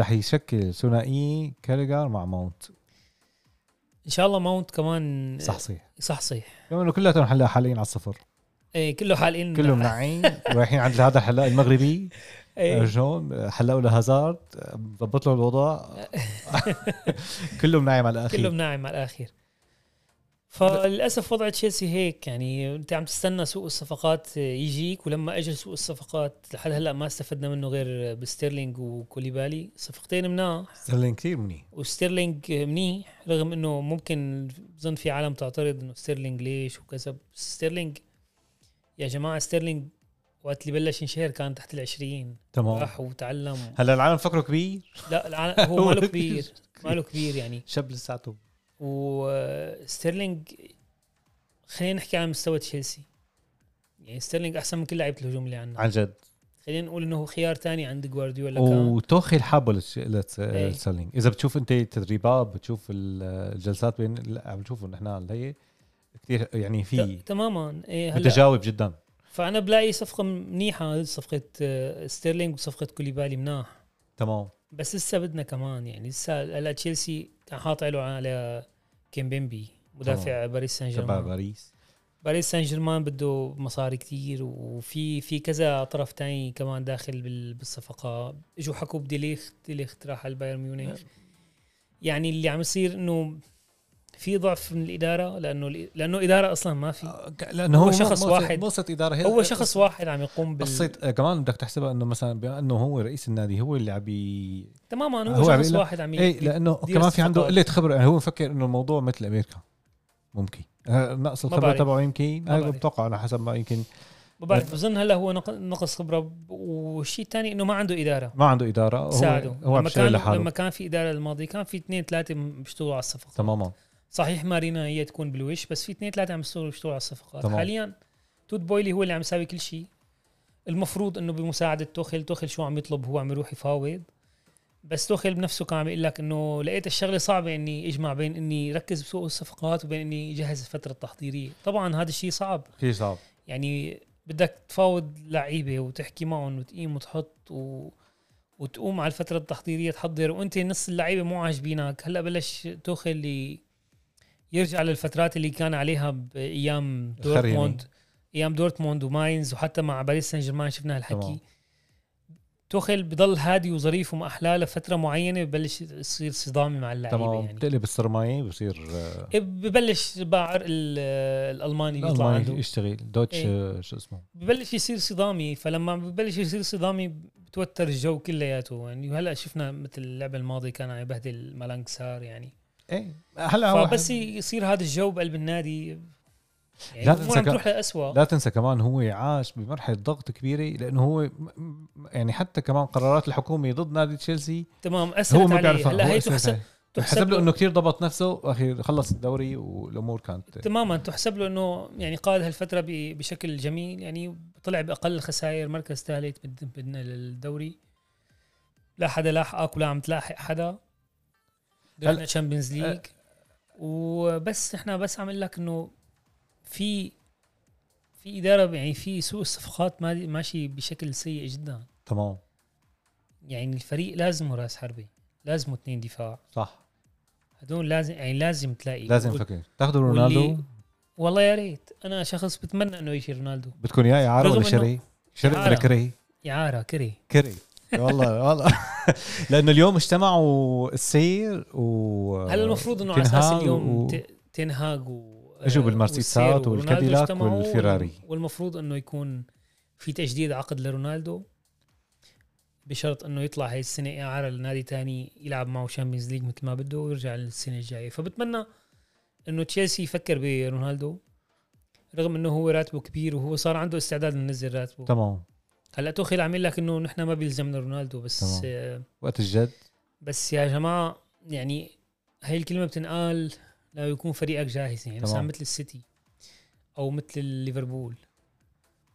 S1: رح يشكل ثنائي كاريجار مع ماونت
S2: ان شاء الله ماونت كمان
S1: صح صحيح
S2: صح صح
S1: لانه كلياتهم هلا حاليا على الصفر
S2: ايه كله حالين
S1: كلهم ناعين رايحين عند هذا الحلاق المغربي
S2: نعم. إيه.
S1: شلون حلقوا له هازارد
S2: [laughs]
S1: ضبط له الوضع كلهم نايم على الاخير
S2: كلهم ناعم على الاخير فللاسف وضع تشيلسي هيك يعني انت عم تستنى سوق الصفقات يجيك ولما اجى سوق الصفقات لحد هلا ما استفدنا منه غير بستيرلينج وكوليبالي صفقتين مناح
S1: ستيرلينج كثير منيح
S2: وستيرلينج منيح رغم انه ممكن بظن في عالم تعترض انه ستيرلينج ليش وكذا بس ستيرلينج يا جماعه ستيرلينج وقت اللي بلش ينشهر كان تحت العشرين
S1: تمام
S2: راح وتعلم
S1: هلا العالم فكره كبير
S2: لا العالم هو ماله كبير ماله كبير يعني
S1: شاب لساته
S2: وستيرلينج خلينا نحكي عن مستوى تشيلسي يعني ستيرلينج احسن من كل لعيبه الهجوم اللي عندنا
S1: عن جد
S2: خلينا نقول انه هو خيار تاني عند جوارديولا كان
S1: وتوخي الحابه للش-
S2: آه. إيه.
S1: للس- للستيرلينج اذا بتشوف انت تدريبات بتشوف ال- الجلسات بين لا، عم نشوفه نحن على هي كثير يعني في
S2: ت- تماما ايه هلا
S1: متجاوب جدا
S2: فانا بلاقي صفقه منيحه صفقه آه، ستيرلينج وصفقه كوليبالي مناح
S1: تمام
S2: بس لسه بدنا كمان يعني لسه هلا تشيلسي كان حاط له على كيمبيمبي مدافع باريس سان
S1: تبع
S2: جيرمان
S1: باريس
S2: باريس سان جيرمان بده مصاري كتير وفي في كذا طرف تاني كمان داخل بال- بالصفقه اجوا حكوا بديليخت ديليخت راح على بايرن
S1: نعم.
S2: ميونخ يعني اللي عم يصير انه في ضعف من الاداره لانه لانه اداره اصلا ما في
S1: آه، ك- لانه
S2: هو
S1: هو
S2: شخص
S1: مؤسسة-
S2: واحد.
S1: مؤسسه اداره هي-
S2: هو شخص واحد عم يقوم بال
S1: قصه آه، كمان بدك تحسبها انه مثلا بما انه هو رئيس النادي هو اللي عم بي-
S2: تماما
S1: هو
S2: هو
S1: عم إيه،
S2: شخص
S1: يقول-
S2: واحد عم ي-
S1: اي لانه
S2: دير
S1: كمان في عنده
S2: الصفقات.
S1: قله خبره يعني هو مفكر انه الموضوع مثل امريكا ممكن آه، نقص الخبره
S2: بعرف.
S1: تبعه يمكن
S2: ما
S1: أنا
S2: بعرف.
S1: بتوقع على حسب ما يمكن
S2: ما بعرف بظن هلا هو نق- نقص خبره ب- والشيء الثاني انه ما عنده اداره
S1: ما عنده اداره هو
S2: تساعده
S1: هو عم
S2: لما
S1: بيشتغل
S2: كان
S1: لحاله
S2: لما كان في اداره الماضي كان في اثنين ثلاثه م- بيشتغلوا على الصفقات
S1: تماما
S2: صحيح مارينا هي تكون بالوش بس في اثنين ثلاثه عم يشتغلوا بيشتغلوا على الصفقات
S1: تمام.
S2: حاليا توت بويلي هو اللي عم يساوي كل شيء المفروض انه بمساعده توخل توخل شو عم يطلب هو عم يروح يفاوض بس توخل بنفسه كان عم يقول لك انه لقيت الشغله صعبه اني اجمع بين اني ركز بسوق الصفقات وبين اني جهز الفتره التحضيريه طبعا هذا الشيء صعب
S1: كثير صعب
S2: يعني بدك تفاوض لعيبه وتحكي معهم وتقيم وتحط و... وتقوم على الفتره التحضيريه تحضر وانت نص اللعيبه مو عاجبينك هلا بلش توخل اللي يرجع للفترات اللي كان عليها بايام
S1: الخريمة.
S2: دورتموند ايام دورتموند وماينز وحتى مع باريس سان جيرمان شفنا هالحكي
S1: تمام.
S2: توخل بضل هادي وظريف وما احلاه لفتره معينه ببلش يصير صدامي مع اللعيبه
S1: تمام
S2: يعني إيه،
S1: بتقلب السرمايه بصير آه،
S2: ببلش باع الالماني يطلع
S1: الألماني
S2: عنده
S1: يشتغل دوتش
S2: إيه.
S1: آه، شو اسمه
S2: ببلش يصير صدامي فلما ببلش يصير صدامي بتوتر الجو كلياته يعني وهلا شفنا مثل اللعبه الماضي كان عم يبهدل مالانج سار يعني
S1: ايه هلا هو
S2: فبس يصير هذا الجو بقلب النادي يعني
S1: لا
S2: لا
S1: تنسى
S2: تنسى
S1: ك-
S2: تروح لأسوأ
S1: لا تنسى كمان هو عاش بمرحله ضغط كبيره لانه هو م- م- يعني حتى كمان قرارات الحكومه ضد نادي تشيلسي
S2: تمام
S1: هو
S2: اثرت
S1: ما
S2: عليه
S1: بيعرفها
S2: هلا
S1: هو
S2: هي
S1: أساساً.
S2: تحسب
S1: حسب
S2: تحسب
S1: له
S2: له-
S1: انه كثير ضبط نفسه واخي خلص الدوري والامور كانت
S2: تماما تحسب له انه يعني قاد هالفتره ب- بشكل جميل يعني طلع باقل الخسائر مركز ثالث بال- بال- الدوري لا حدا لاحقك ولا عم تلاحق حدا رحنا
S1: هل-
S2: تشامبيونز ليج
S1: أه.
S2: وبس احنا بس عم اقول لك انه في في اداره يعني في سوق الصفقات ما- ماشي بشكل سيء جدا
S1: تمام
S2: يعني الفريق لازمه راس حربي لازمه اثنين دفاع
S1: صح
S2: هدول لازم يعني لازم تلاقي
S1: لازم
S2: وال-
S1: نفكر تاخذوا
S2: واللي-
S1: رونالدو
S2: والله يا ريت انا شخص بتمنى انه يجي رونالدو
S1: بدكم اياه اعاره
S2: رغم
S1: ولا
S2: إنه-
S1: شري؟ شري ولا
S2: إعارة.
S1: كري؟
S2: اعاره كري
S1: كري والله [laughs] والله لانه اليوم اجتمعوا السير و
S2: هلا المفروض انه على اساس
S1: تنهاج
S2: اليوم
S1: آه. و-
S2: ت- تنهاج و
S1: إجوا بالمرسيدسات
S2: والسير ورونالدو
S1: والكاديلاك
S2: اجتمعوا
S1: والفيراري.
S2: والمفروض انه يكون في تجديد عقد لرونالدو بشرط انه يطلع هاي السنه اعاره لنادي تاني يلعب معه شامبيونز ليج مثل ما بده ويرجع للسنه الجايه فبتمنى انه تشيلسي يفكر برونالدو رغم انه هو راتبه كبير وهو صار عنده استعداد انه ينزل راتبه
S1: تمام
S2: هلا توخيل عم يقول لك انه نحن ما بيلزمنا رونالدو
S1: تمام.
S2: بس آه
S1: وقت الجد
S2: بس يا جماعه يعني هاي الكلمه بتنقال لا يكون فريقك جاهز يعني مثلا
S1: تمام.
S2: مثل السيتي او مثل ليفربول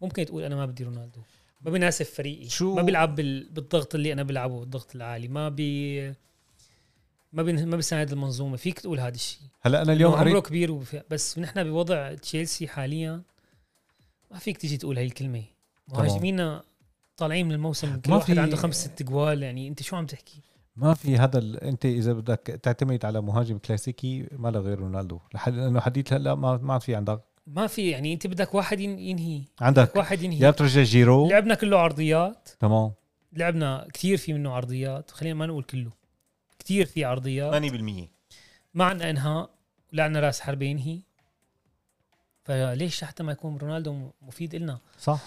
S2: ممكن تقول انا ما بدي رونالدو ما بيناسب فريقي
S1: شو-
S2: ما بيلعب بال... بالضغط اللي انا بلعبه بالضغط العالي ما بي ما بي... ما بيساعد المنظومه فيك تقول هذا الشيء
S1: هلا انا اليوم
S2: اليوم عمره
S1: قريت
S2: كبير وف... بس نحن بوضع تشيلسي حاليا ما فيك تيجي تقول هاي الكلمه
S1: تمام.
S2: مهاجمينا طالعين من الموسم كل
S1: ما
S2: واحد
S1: في-
S2: عنده خمس ست جوال يعني انت شو عم تحكي
S1: ما في هذا ال... انت اذا بدك تعتمد على مهاجم كلاسيكي ما له غير رونالدو لحد لانه حديث هلا ما ما في عندك
S2: ما في يعني انت بدك واحد ين- ينهي بدك
S1: عندك
S2: واحد
S1: يا
S2: ينهي
S1: بترجع جيرو
S2: لعبنا كله عرضيات
S1: تمام
S2: لعبنا كثير في منه عرضيات خلينا ما نقول كله كثير في عرضيات
S1: 80%
S2: ما عندنا انهاء ولا عندنا راس حرب ينهي فليش حتى ما يكون رونالدو مفيد إلنا
S1: صح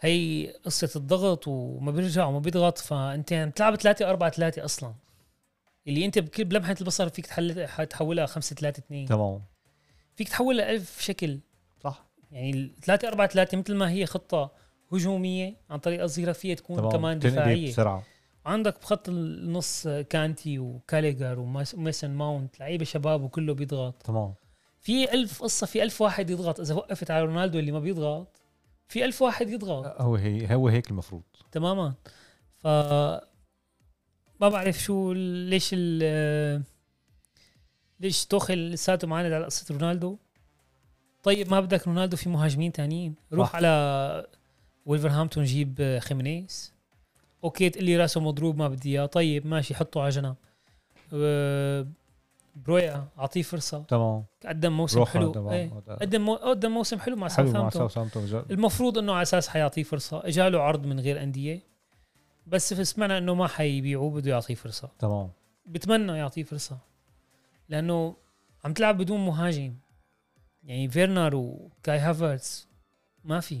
S2: هي قصة الضغط وما بيرجع وما بيضغط فأنت يعني عم تلعب 3 4 3 أصلا اللي أنت بكل بلمحة البصر فيك تحل تحولها 5 3 2
S1: تمام
S2: فيك تحولها ألف شكل
S1: صح
S2: يعني 3 4 3 مثل ما هي خطة هجومية عن طريقة صغيرة فيها تكون
S1: تمام
S2: كمان
S1: تنقلب
S2: دفاعية
S1: بسرعه
S2: عندك بخط النص كانتي وكاليجر وميسن ماونت لعيبه شباب وكله بيضغط
S1: تمام
S2: في ألف قصة في ألف واحد يضغط إذا وقفت على رونالدو اللي ما بيضغط في ألف واحد يضغط
S1: هو هي هو هيك المفروض
S2: تماما ف ما بعرف شو ال- ليش ال ليش توخل لساته معاند على قصة رونالدو طيب ما بدك رونالدو في مهاجمين تانيين روح
S1: صح.
S2: على ولفرهامبتون جيب خيمينيز اوكي تقول لي راسه مضروب ما بدي اياه طيب ماشي حطه على جنب و- برويا اعطيه فرصه
S1: تمام
S2: قدم موسم
S1: روح
S2: حلو
S1: تمام
S2: ايه.
S1: هذا
S2: قدم مو- قدم موسم حلو مع
S1: حلو مع
S2: ساوثهامبتون
S1: ساوثهامبتون جا-
S2: المفروض انه على اساس حيعطيه فرصه اجى له عرض من غير انديه بس سمعنا انه ما حيبيعوه بده يعطيه فرصه
S1: تمام
S2: بتمنى يعطيه فرصه لانه عم تلعب بدون مهاجم يعني فيرنر وكاي هافرتس ما في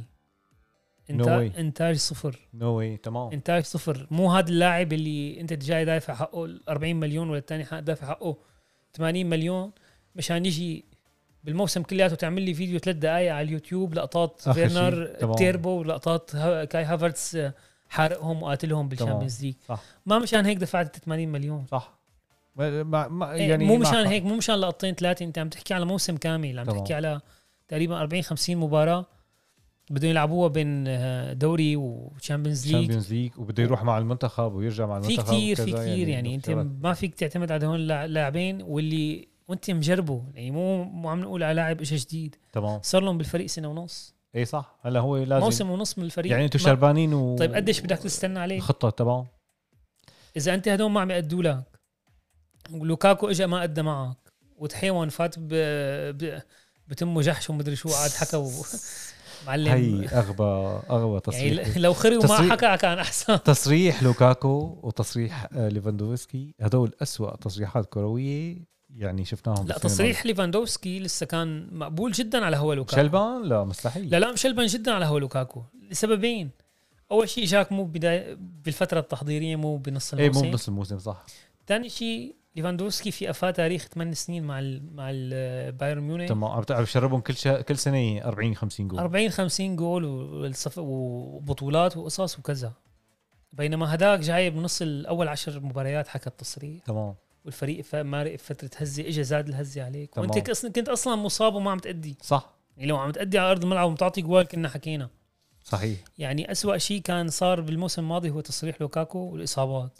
S2: انتاج
S1: way.
S2: انتاج صفر
S1: نو واي تمام
S2: انتاج صفر مو هذا اللاعب اللي انت جاي دافع حقه ال 40 مليون ولا الثاني دافع حقه 80 مليون مشان يجي بالموسم كلياته تعمل لي فيديو ثلاث دقائق على اليوتيوب لقطات
S1: آخر شيء.
S2: فيرنر
S1: تمام.
S2: تيربو ولقطات ها- كاي هافرتس آه، حارقهم وقاتلهم بالشامبيونز ليج
S1: صح.
S2: ما مشان هيك دفعت 80 مليون
S1: صح ما ما- ما
S2: إيه،
S1: يعني
S2: مو
S1: مع
S2: مشان
S1: حق.
S2: هيك مو مشان لقطتين ثلاثه انت عم تحكي على موسم كامل عم
S1: تمام.
S2: تحكي على تقريبا 40 50 مباراه بدهم يلعبوها بين آه، دوري وشامبيونز ليج
S1: الشامبيونز ليج وبده يروح مع المنتخب ويرجع مع
S2: في
S1: المنتخب
S2: كثير في
S1: وكذا،
S2: كثير يعني انت
S1: شغلات.
S2: ما فيك تعتمد على هون اللاع- لاعبين واللي وانت مجربه يعني مو مو عم نقول على لاعب شيء جديد
S1: تمام
S2: صار لهم بالفريق سنه ونص
S1: اي صح هلا هو لازم
S2: موسم ونص من الفريق
S1: يعني انتم
S2: ما-
S1: شربانين و
S2: طيب قديش بدك تستنى عليه
S1: الخطه تمام
S2: اذا انت هدول ما عم يأدوا لك ولوكاكو اجى ما أدى معك وتحيون فات ب... ب... بتمه جحش ومدري شو قعد حكى [laughs] ومعلم [laughs]
S1: هي اغبى اغبى تصريح
S2: يعني لو خري وما
S1: تصريح-
S2: حكى كان احسن
S1: تصريح لوكاكو وتصريح آه، ليفاندوفسكي هدول أسوأ تصريحات كرويه يعني شفناهم
S2: لا
S1: بالسنة
S2: تصريح ليفاندوفسكي لسه كان مقبول جدا على هوا
S1: الماضية.
S2: لوكاكو
S1: شلبان لا مستحيل
S2: لا لا مشلبن جدا على هو لوكاكو لسببين اول شيء جاك مو بداية بالفتره التحضيريه مو بنص
S1: ايه مو
S2: الموسم
S1: بنص الموسم صح
S2: ثاني شيء ليفاندوفسكي في افاه تاريخ 8 سنين مع ال مع ال- بايرن ميونخ
S1: تمام عم بتعرف شربهم كل شا... كل سنه 40 50 جول
S2: 40 50 جول والصف- وبطولات وقصص وكذا بينما هداك جاي بنص الاول عشر مباريات حكى التصريح
S1: تمام
S2: والفريق ف- مارق فتره هزه اجى زاد الهزه عليك
S1: تمام.
S2: وانت كأصلاً- كنت اصلا مصاب وما عم تأدي
S1: صح
S2: يعني لو عم تأدي على ارض الملعب ومتعطي جوال كنا حكينا
S1: صحيح
S2: يعني أسوأ شيء كان صار بالموسم الماضي هو تصريح لوكاكو والاصابات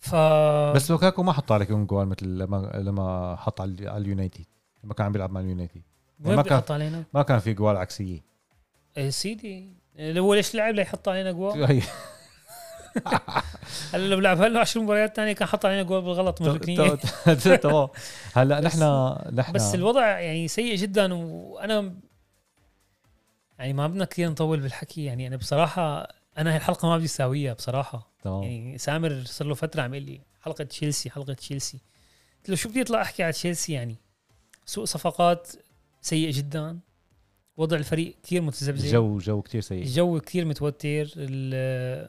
S2: ف بس
S1: بس لوكاكو ما حط على كم جوال مثل لما لما حط على على اليونايتد لما كان عم بيلعب مع اليونايتد
S2: وين
S1: ما
S2: بيحط علينا؟
S1: ما كان في جوال عكسيه
S2: إيه سيدي إيه هو ليش لعب ليحط علينا جوال؟
S1: هي
S2: هلا لو لعب هلا 10 مباريات ثانيه كان حط علينا جوال بالغلط مدركني
S1: تمام هلا نحن نحن
S2: بس الوضع يعني سيء جدا وانا يعني ما بدنا كثير نطول بالحكي يعني انا بصراحه انا هالحلقه ما بدي اساويها بصراحه
S1: تمام
S2: يعني سامر صار له فتره عم يقول لي حلقه تشيلسي حلقه تشيلسي قلت له شو بدي اطلع احكي على تشيلسي يعني سوق صفقات سيء جدا وضع الفريق كثير متذبذب
S1: الجو جو كتير سيء
S2: الجو كثير متوتر ال-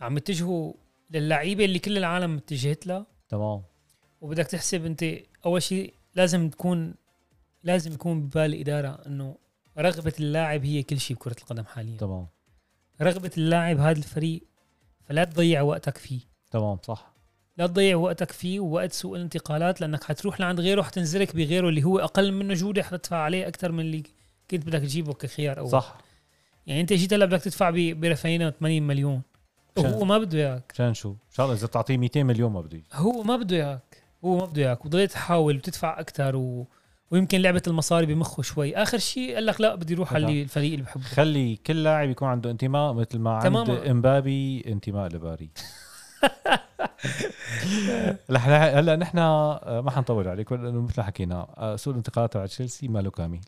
S2: عم يتجهوا للعيبه اللي كل العالم اتجهت لها
S1: تمام
S2: وبدك تحسب انت اول شيء لازم تكون لازم يكون ببال الاداره انه رغبه اللاعب هي كل شيء بكره القدم حاليا
S1: تمام
S2: رغبه اللاعب هذا الفريق فلا تضيع وقتك فيه
S1: تمام صح
S2: لا تضيع وقتك فيه ووقت سوق الانتقالات لانك حتروح لعند غيره حتنزلك بغيره اللي هو اقل منه جوده حتدفع عليه اكثر من اللي كنت بدك تجيبه كخيار اول
S1: صح
S2: يعني انت جيت هلا بدك تدفع ب- برفينا 80 مليون
S1: شان.
S2: وهو ما بده اياك
S1: مشان شو ان شاء الله اذا بتعطيه 200 مليون ما بده يجي.
S2: هو ما بده اياك هو ما بده اياك وضليت تحاول وتدفع اكثر و... ويمكن لعبه المصاري بمخه شوي اخر شيء قال لك لا بدي اروح على
S1: طبعاً.
S2: اللي- الفريق اللي بحبه
S1: خلي كل لاعب يكون عنده انتماء مثل ما عند
S2: تماماً.
S1: امبابي انتماء لباري [laughs] رح- هلا نحن آه، ما حنطول عليك لانه مثل ما حكينا آه، سوق الانتقالات تبع تشيلسي ماله كامل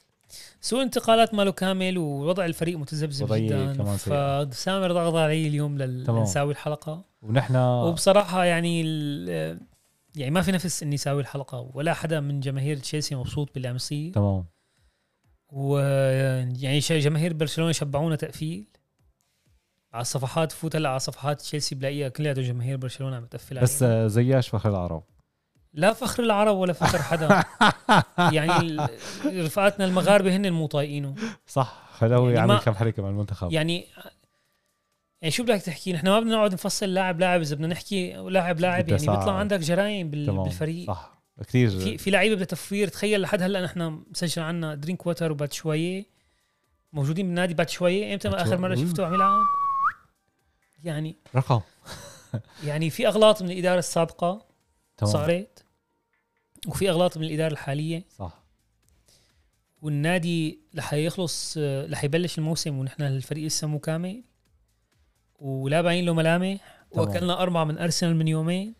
S2: سوء انتقالات ماله كامل ووضع الفريق متذبذب
S1: وضيق
S2: جدا
S1: كمان سيء.
S2: فسامر ضغط علي اليوم لل-
S1: تمام.
S2: لنساوي الحلقه
S1: ونحن
S2: وبصراحه يعني ال- يعني ما في نفس اني اساوي الحلقه ولا حدا من جماهير تشيلسي مبسوط باللي عم يصير
S1: تمام
S2: و- يعني ش- جماهير برشلونه شبعونا تقفيل على الصفحات فوت هلا على صفحات تشيلسي بلاقيها كلياته جماهير برشلونه عم بتقفل
S1: بس
S2: علينا.
S1: آه، زياش فخر العرب
S2: لا فخر العرب ولا فخر
S1: [laughs]
S2: حدا [laughs] يعني ال- رفقاتنا المغاربه هن مو طايقينه
S1: صح خلاوي
S2: يعني
S1: يعني عمل
S2: ما-
S1: كم حركه مع المنتخب
S2: يعني يعني شو بدك تحكي نحن ما بدنا نقعد نفصل لاعب لاعب اذا بدنا نحكي لاعب لاعب
S1: بدها
S2: يعني بيطلع
S1: ساعة.
S2: عندك جرايم بال-
S1: تمام
S2: بالفريق
S1: صح كثير
S2: في في لعيبه بدها تفوير تخيل لحد هلا نحن مسجل عنا درينك واتر وباتشواية موجودين بالنادي باتشواية امتى ما اخر مره
S1: باتشواية.
S2: شفته عم يلعب يعني
S1: رقم
S2: يعني في اغلاط من الاداره السابقه
S1: تمام
S2: صارت وفي اغلاط من الاداره الحاليه
S1: صح
S2: والنادي رح يخلص آه، رح يبلش الموسم ونحن الفريق لسه مو كامل ولا باين له ملامح
S1: تمام.
S2: واكلنا اربعه من ارسنال من يومين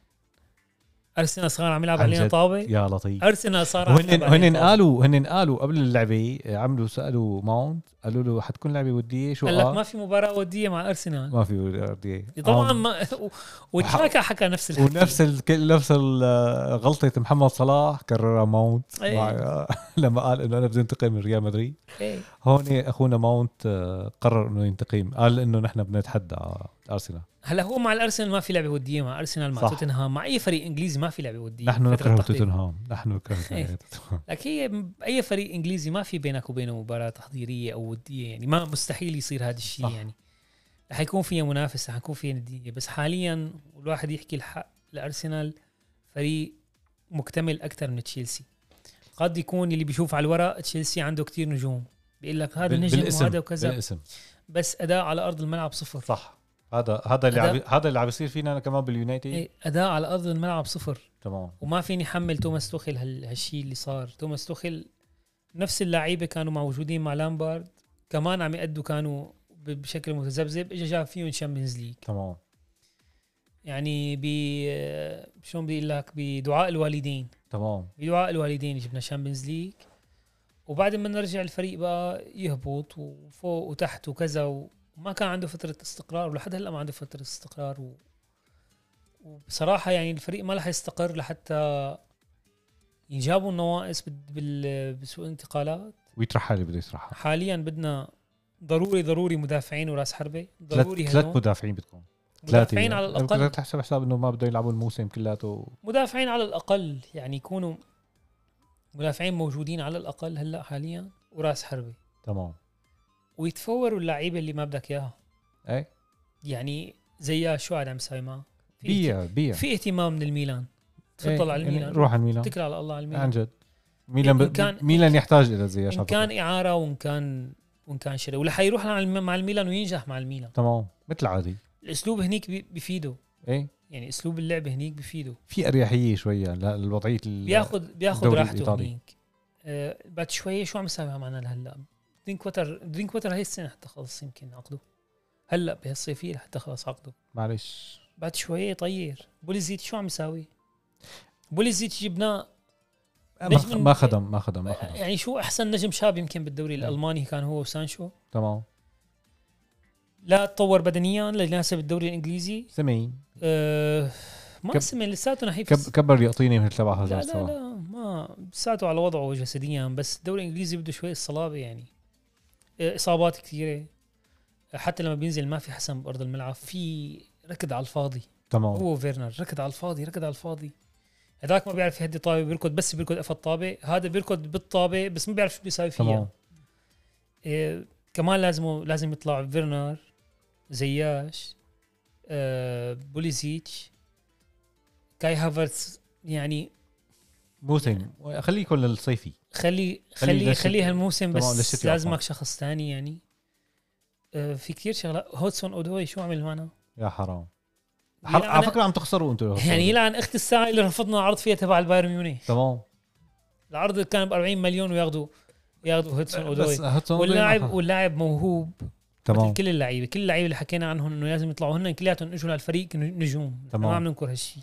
S2: ارسنال صار عم يلعب
S1: عن
S2: علينا
S1: جد.
S2: طابه
S1: يا لطيف
S2: ارسنال صار عم
S1: هن
S2: يلعب علينا
S1: هن
S2: طابة.
S1: قالوا هن قالوا قبل اللعبه آه، عملوا سالوا ماونت قالوا له حتكون لعبه وديه شو
S2: قال لك
S1: آه؟
S2: ما في مباراه وديه مع ارسنال
S1: ما في وديه
S2: طبعا
S1: آه،
S2: ما و- وتشاكا حكى نفس الحكي
S1: ونفس الك... نفس ال- آه، غلطه محمد صلاح كررها ماونت
S2: إيه.
S1: مع... [laughs] آه، لما قال انه انا بدي انتقم من ريال مدريد
S2: إيه.
S1: هون اخونا ماونت آه، قرر انه ينتقم قال انه نحن بنتحدى ارسنال
S2: هلا هو مع الارسنال ما في لعبه وديه مع ارسنال مع
S1: صح.
S2: توتنهام مع اي فريق انجليزي ما في لعبه وديه
S1: نحن
S2: فترة
S1: نكره
S2: تقليد.
S1: توتنهام نحن نكره
S2: إيه.
S1: توتنهام
S2: لك هي م- اي فريق انجليزي ما في بينك وبينه مباراه تحضيريه او وديه يعني ما مستحيل يصير هذا الشيء
S1: صح.
S2: يعني رح يكون فيها منافسه رح يكون فيها نديه بس حاليا والواحد يحكي الحق الارسنال فريق مكتمل اكثر من تشيلسي قد يكون اللي بيشوف على الورق تشيلسي عنده كتير نجوم بيقول لك هذا
S1: بال-
S2: نجم وهذا وكذا
S1: بالاسم
S2: بس اداء على ارض الملعب صفر
S1: صح هذا هذا اللي
S2: هذا-
S1: عم هذا اللي عم بيصير فينا أنا كمان باليونايتد
S2: إيه، اداء على ارض الملعب صفر
S1: تمام
S2: وما فيني حمل توماس توخيل هال- هالشي اللي صار توماس توخيل نفس اللعيبه كانوا موجودين مع لامبارد كمان عم يأدوا كانوا ب- بشكل متذبذب اجى جاب فيهم شامبيونز ليج
S1: تمام
S2: يعني ب آه، شلون بدي اقول لك بدعاء الوالدين
S1: تمام
S2: بدعاء الوالدين جبنا شامبيونز ليج وبعد ما نرجع الفريق بقى يهبط وفوق وتحت وكذا وما كان عنده فترة استقرار ولحد هلا ما عنده فترة استقرار و... وبصراحة يعني الفريق ما رح يستقر لحتى ينجابوا النواقص بال- بال- بسوق الانتقالات
S1: ويطرحها اللي بده يطرحها
S2: حاليا بدنا ضروري ضروري مدافعين وراس حربة
S1: ثلاث
S2: ضروري
S1: ثلاث
S2: هجوم.
S1: مدافعين بدكم ثلاثة يعني.
S2: مدافعين على الأقل
S1: بدك تحسب حساب انه ما بده يلعبوا الموسم كلياته
S2: مدافعين على الاقل يعني يكونوا مدافعين موجودين على الاقل هلا حاليا وراس حربه
S1: تمام
S2: ويتفوروا اللعيبه اللي ما بدك اياها
S1: اي
S2: يعني زيها شو قاعد عم يسوي معه في
S1: بيع بيع
S2: في اهتمام من الميلان تفضل
S1: إيه،
S2: على
S1: يعني
S2: الميلان
S1: روح على الميلان
S2: اتكل على الله على
S1: عن
S2: الميلان
S1: جد ميلان
S2: إن كان-
S1: ب... ميلان يحتاج الى زي
S2: ان كان اعاره وان كان وان كان شراء ولح يروح على الم- مع الميلان وينجح مع الميلان
S1: تمام مثل عادي
S2: الاسلوب هنيك بي- بيفيده
S1: ايه
S2: يعني اسلوب اللعب هنيك بيفيده
S1: في اريحيه شويه للوضعيه ال-
S2: بياخذ بياخذ
S1: الدوري
S2: راحته
S1: الإيطالي.
S2: هنيك آه بعد شوي شو عم يسوي معنا لهلا درينك وتر درينك وتر هي السنه حتى خلص يمكن عقده هلا بهالصيفيه حتى خلص عقده
S1: معلش
S2: بعد شوي طير بوليزيت شو عم يساوي بوليزيت جبناه ليش من-
S1: ما نعم. خدم ما خدم ما خدم
S2: يعني شو احسن نجم شاب يمكن بالدوري الالماني كان هو وسانشو
S1: تمام
S2: لا تطور بدنيا لا يناسب الدوري الانجليزي
S1: سمين
S2: أه ما
S1: كب-
S2: سمع لساته نحيف
S1: كب كبر يعطيني مثل تبع
S2: لا
S1: هذا
S2: لا لا ما ساعته على وضعه جسديا بس الدوري الانجليزي بده شوي الصلابه يعني آه، اصابات كثيره حتى لما بينزل ما في حسم بارض الملعب في ركض على الفاضي
S1: تمام
S2: هو فيرنر ركض على الفاضي ركض على الفاضي هذاك ما بيعرف يهدي طابه بيركض بس بيركض قفا الطابه هذا بيركض بالطابه بس ما بيعرف شو بده يساوي فيها
S1: تمام
S2: إيه كمان لازم لازم يطلع فيرنر زياش آه بوليزيتش كاي هافرتس يعني
S1: موسم خليه يكون للصيفي
S2: خلي
S1: خلي
S2: خلي
S1: للشتي.
S2: خلي هالموسم
S1: طبعاً
S2: بس
S1: للشتي
S2: لازمك
S1: عفواً.
S2: شخص ثاني يعني آه في كثير شغلات هودسون اودوي شو عمل معنا؟
S1: يا حرام حل...
S2: يلعن-
S1: على فكره عم تخسروا انتم
S2: يعني يلعن اخت الساعه اللي رفضنا عرض فيها تبع البايرن ميونخ
S1: تمام
S2: العرض اللي كان ب 40 مليون وياخذوا ياخذوا هودسون
S1: بس إيه؟
S2: اودوي
S1: هاتون أودوي ما
S2: واللاعب
S1: خ-
S2: واللاعب موهوب مثل
S1: تمام
S2: كل اللعيبه كل اللعيبه اللي حكينا عنهم انه لازم يطلعوا هن كلياتهم اجوا للفريق كانوا نجوم نحن
S1: تمام.
S2: ما عم ننكر هالشيء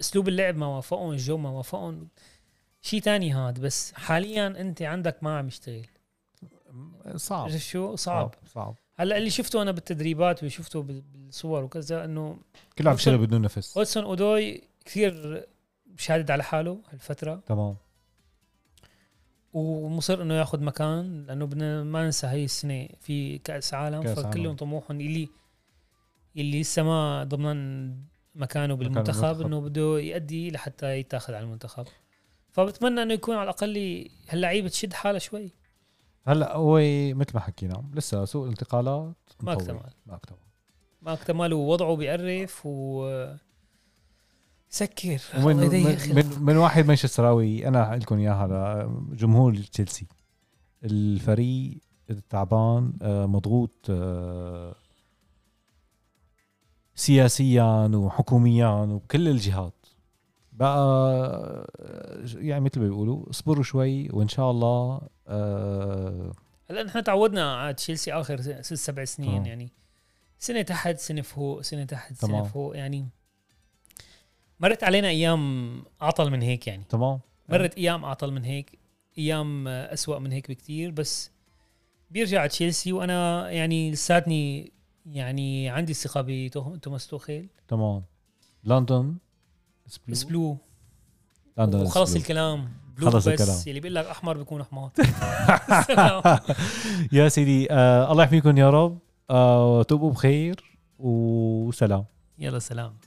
S2: اسلوب اللعب ما وافقهم الجو ما وافقهم شيء تاني هاد بس حاليا انت عندك ما عم يشتغل
S1: صعب
S2: عرفت شو
S1: آه.
S2: صعب
S1: صعب
S2: هلا اللي شفته انا بالتدريبات وشفته بال- بالصور وكذا انه
S1: كله عم
S2: أودسون-
S1: بيشتغل بدون نفس
S2: اودسون اودوي كثير شادد على حاله هالفتره
S1: تمام
S2: ومصر انه ياخذ مكان لانه بدنا ما ننسى هي السنه في كاس عالم
S1: كأس عالم.
S2: فكلهم طموحهم اللي اللي لسه ما ضمنان مكانه بالمنتخب
S1: المنتخب.
S2: انه بده يأدي لحتى يتاخذ على المنتخب فبتمنى انه يكون على الاقل هاللعيبه تشد حالها شوي
S1: هلا هو مثل ما حكينا لسه سوق الانتقالات
S2: ما
S1: مطول.
S2: اكتمل
S1: ما اكتمل
S2: ما اكتمل ووضعه بيقرف و سكر
S1: ومن
S2: الله يضيق
S1: من,
S2: خلقك.
S1: من, من واحد مانشستراوي انا حقول لكم اياها جمهور تشيلسي الفريق تعبان آه، مضغوط آه، سياسيا وحكوميا وبكل الجهات بقى آه، يعني مثل ما بيقولوا اصبروا شوي وان شاء الله آه،
S2: هلا نحن تعودنا على تشيلسي اخر ست سبع سنين
S1: آه.
S2: يعني سنه تحت سنه فوق سنه تحت سنه
S1: تمام.
S2: فوق يعني مرت علينا ايام اعطل من هيك يعني
S1: تمام
S2: مرت ايام اعطل من هيك ايام آه، أسوأ من هيك بكتير بس بيرجع تشيلسي وانا يعني لساتني يعني عندي ثقه بتوماس توخيل
S1: تمام لندن is blue.
S2: بس بلو
S1: لندن is
S2: وخلص
S1: blue.
S2: الكلام بلو
S1: خلص
S2: بس
S1: الكلام.
S2: يلي بيقول لك احمر
S1: [laughs]
S2: بيكون [laughs] حمار
S1: يا سيدي آه الله يحميكم يا رب آه تبقوا بخير وسلام
S2: يلا سلام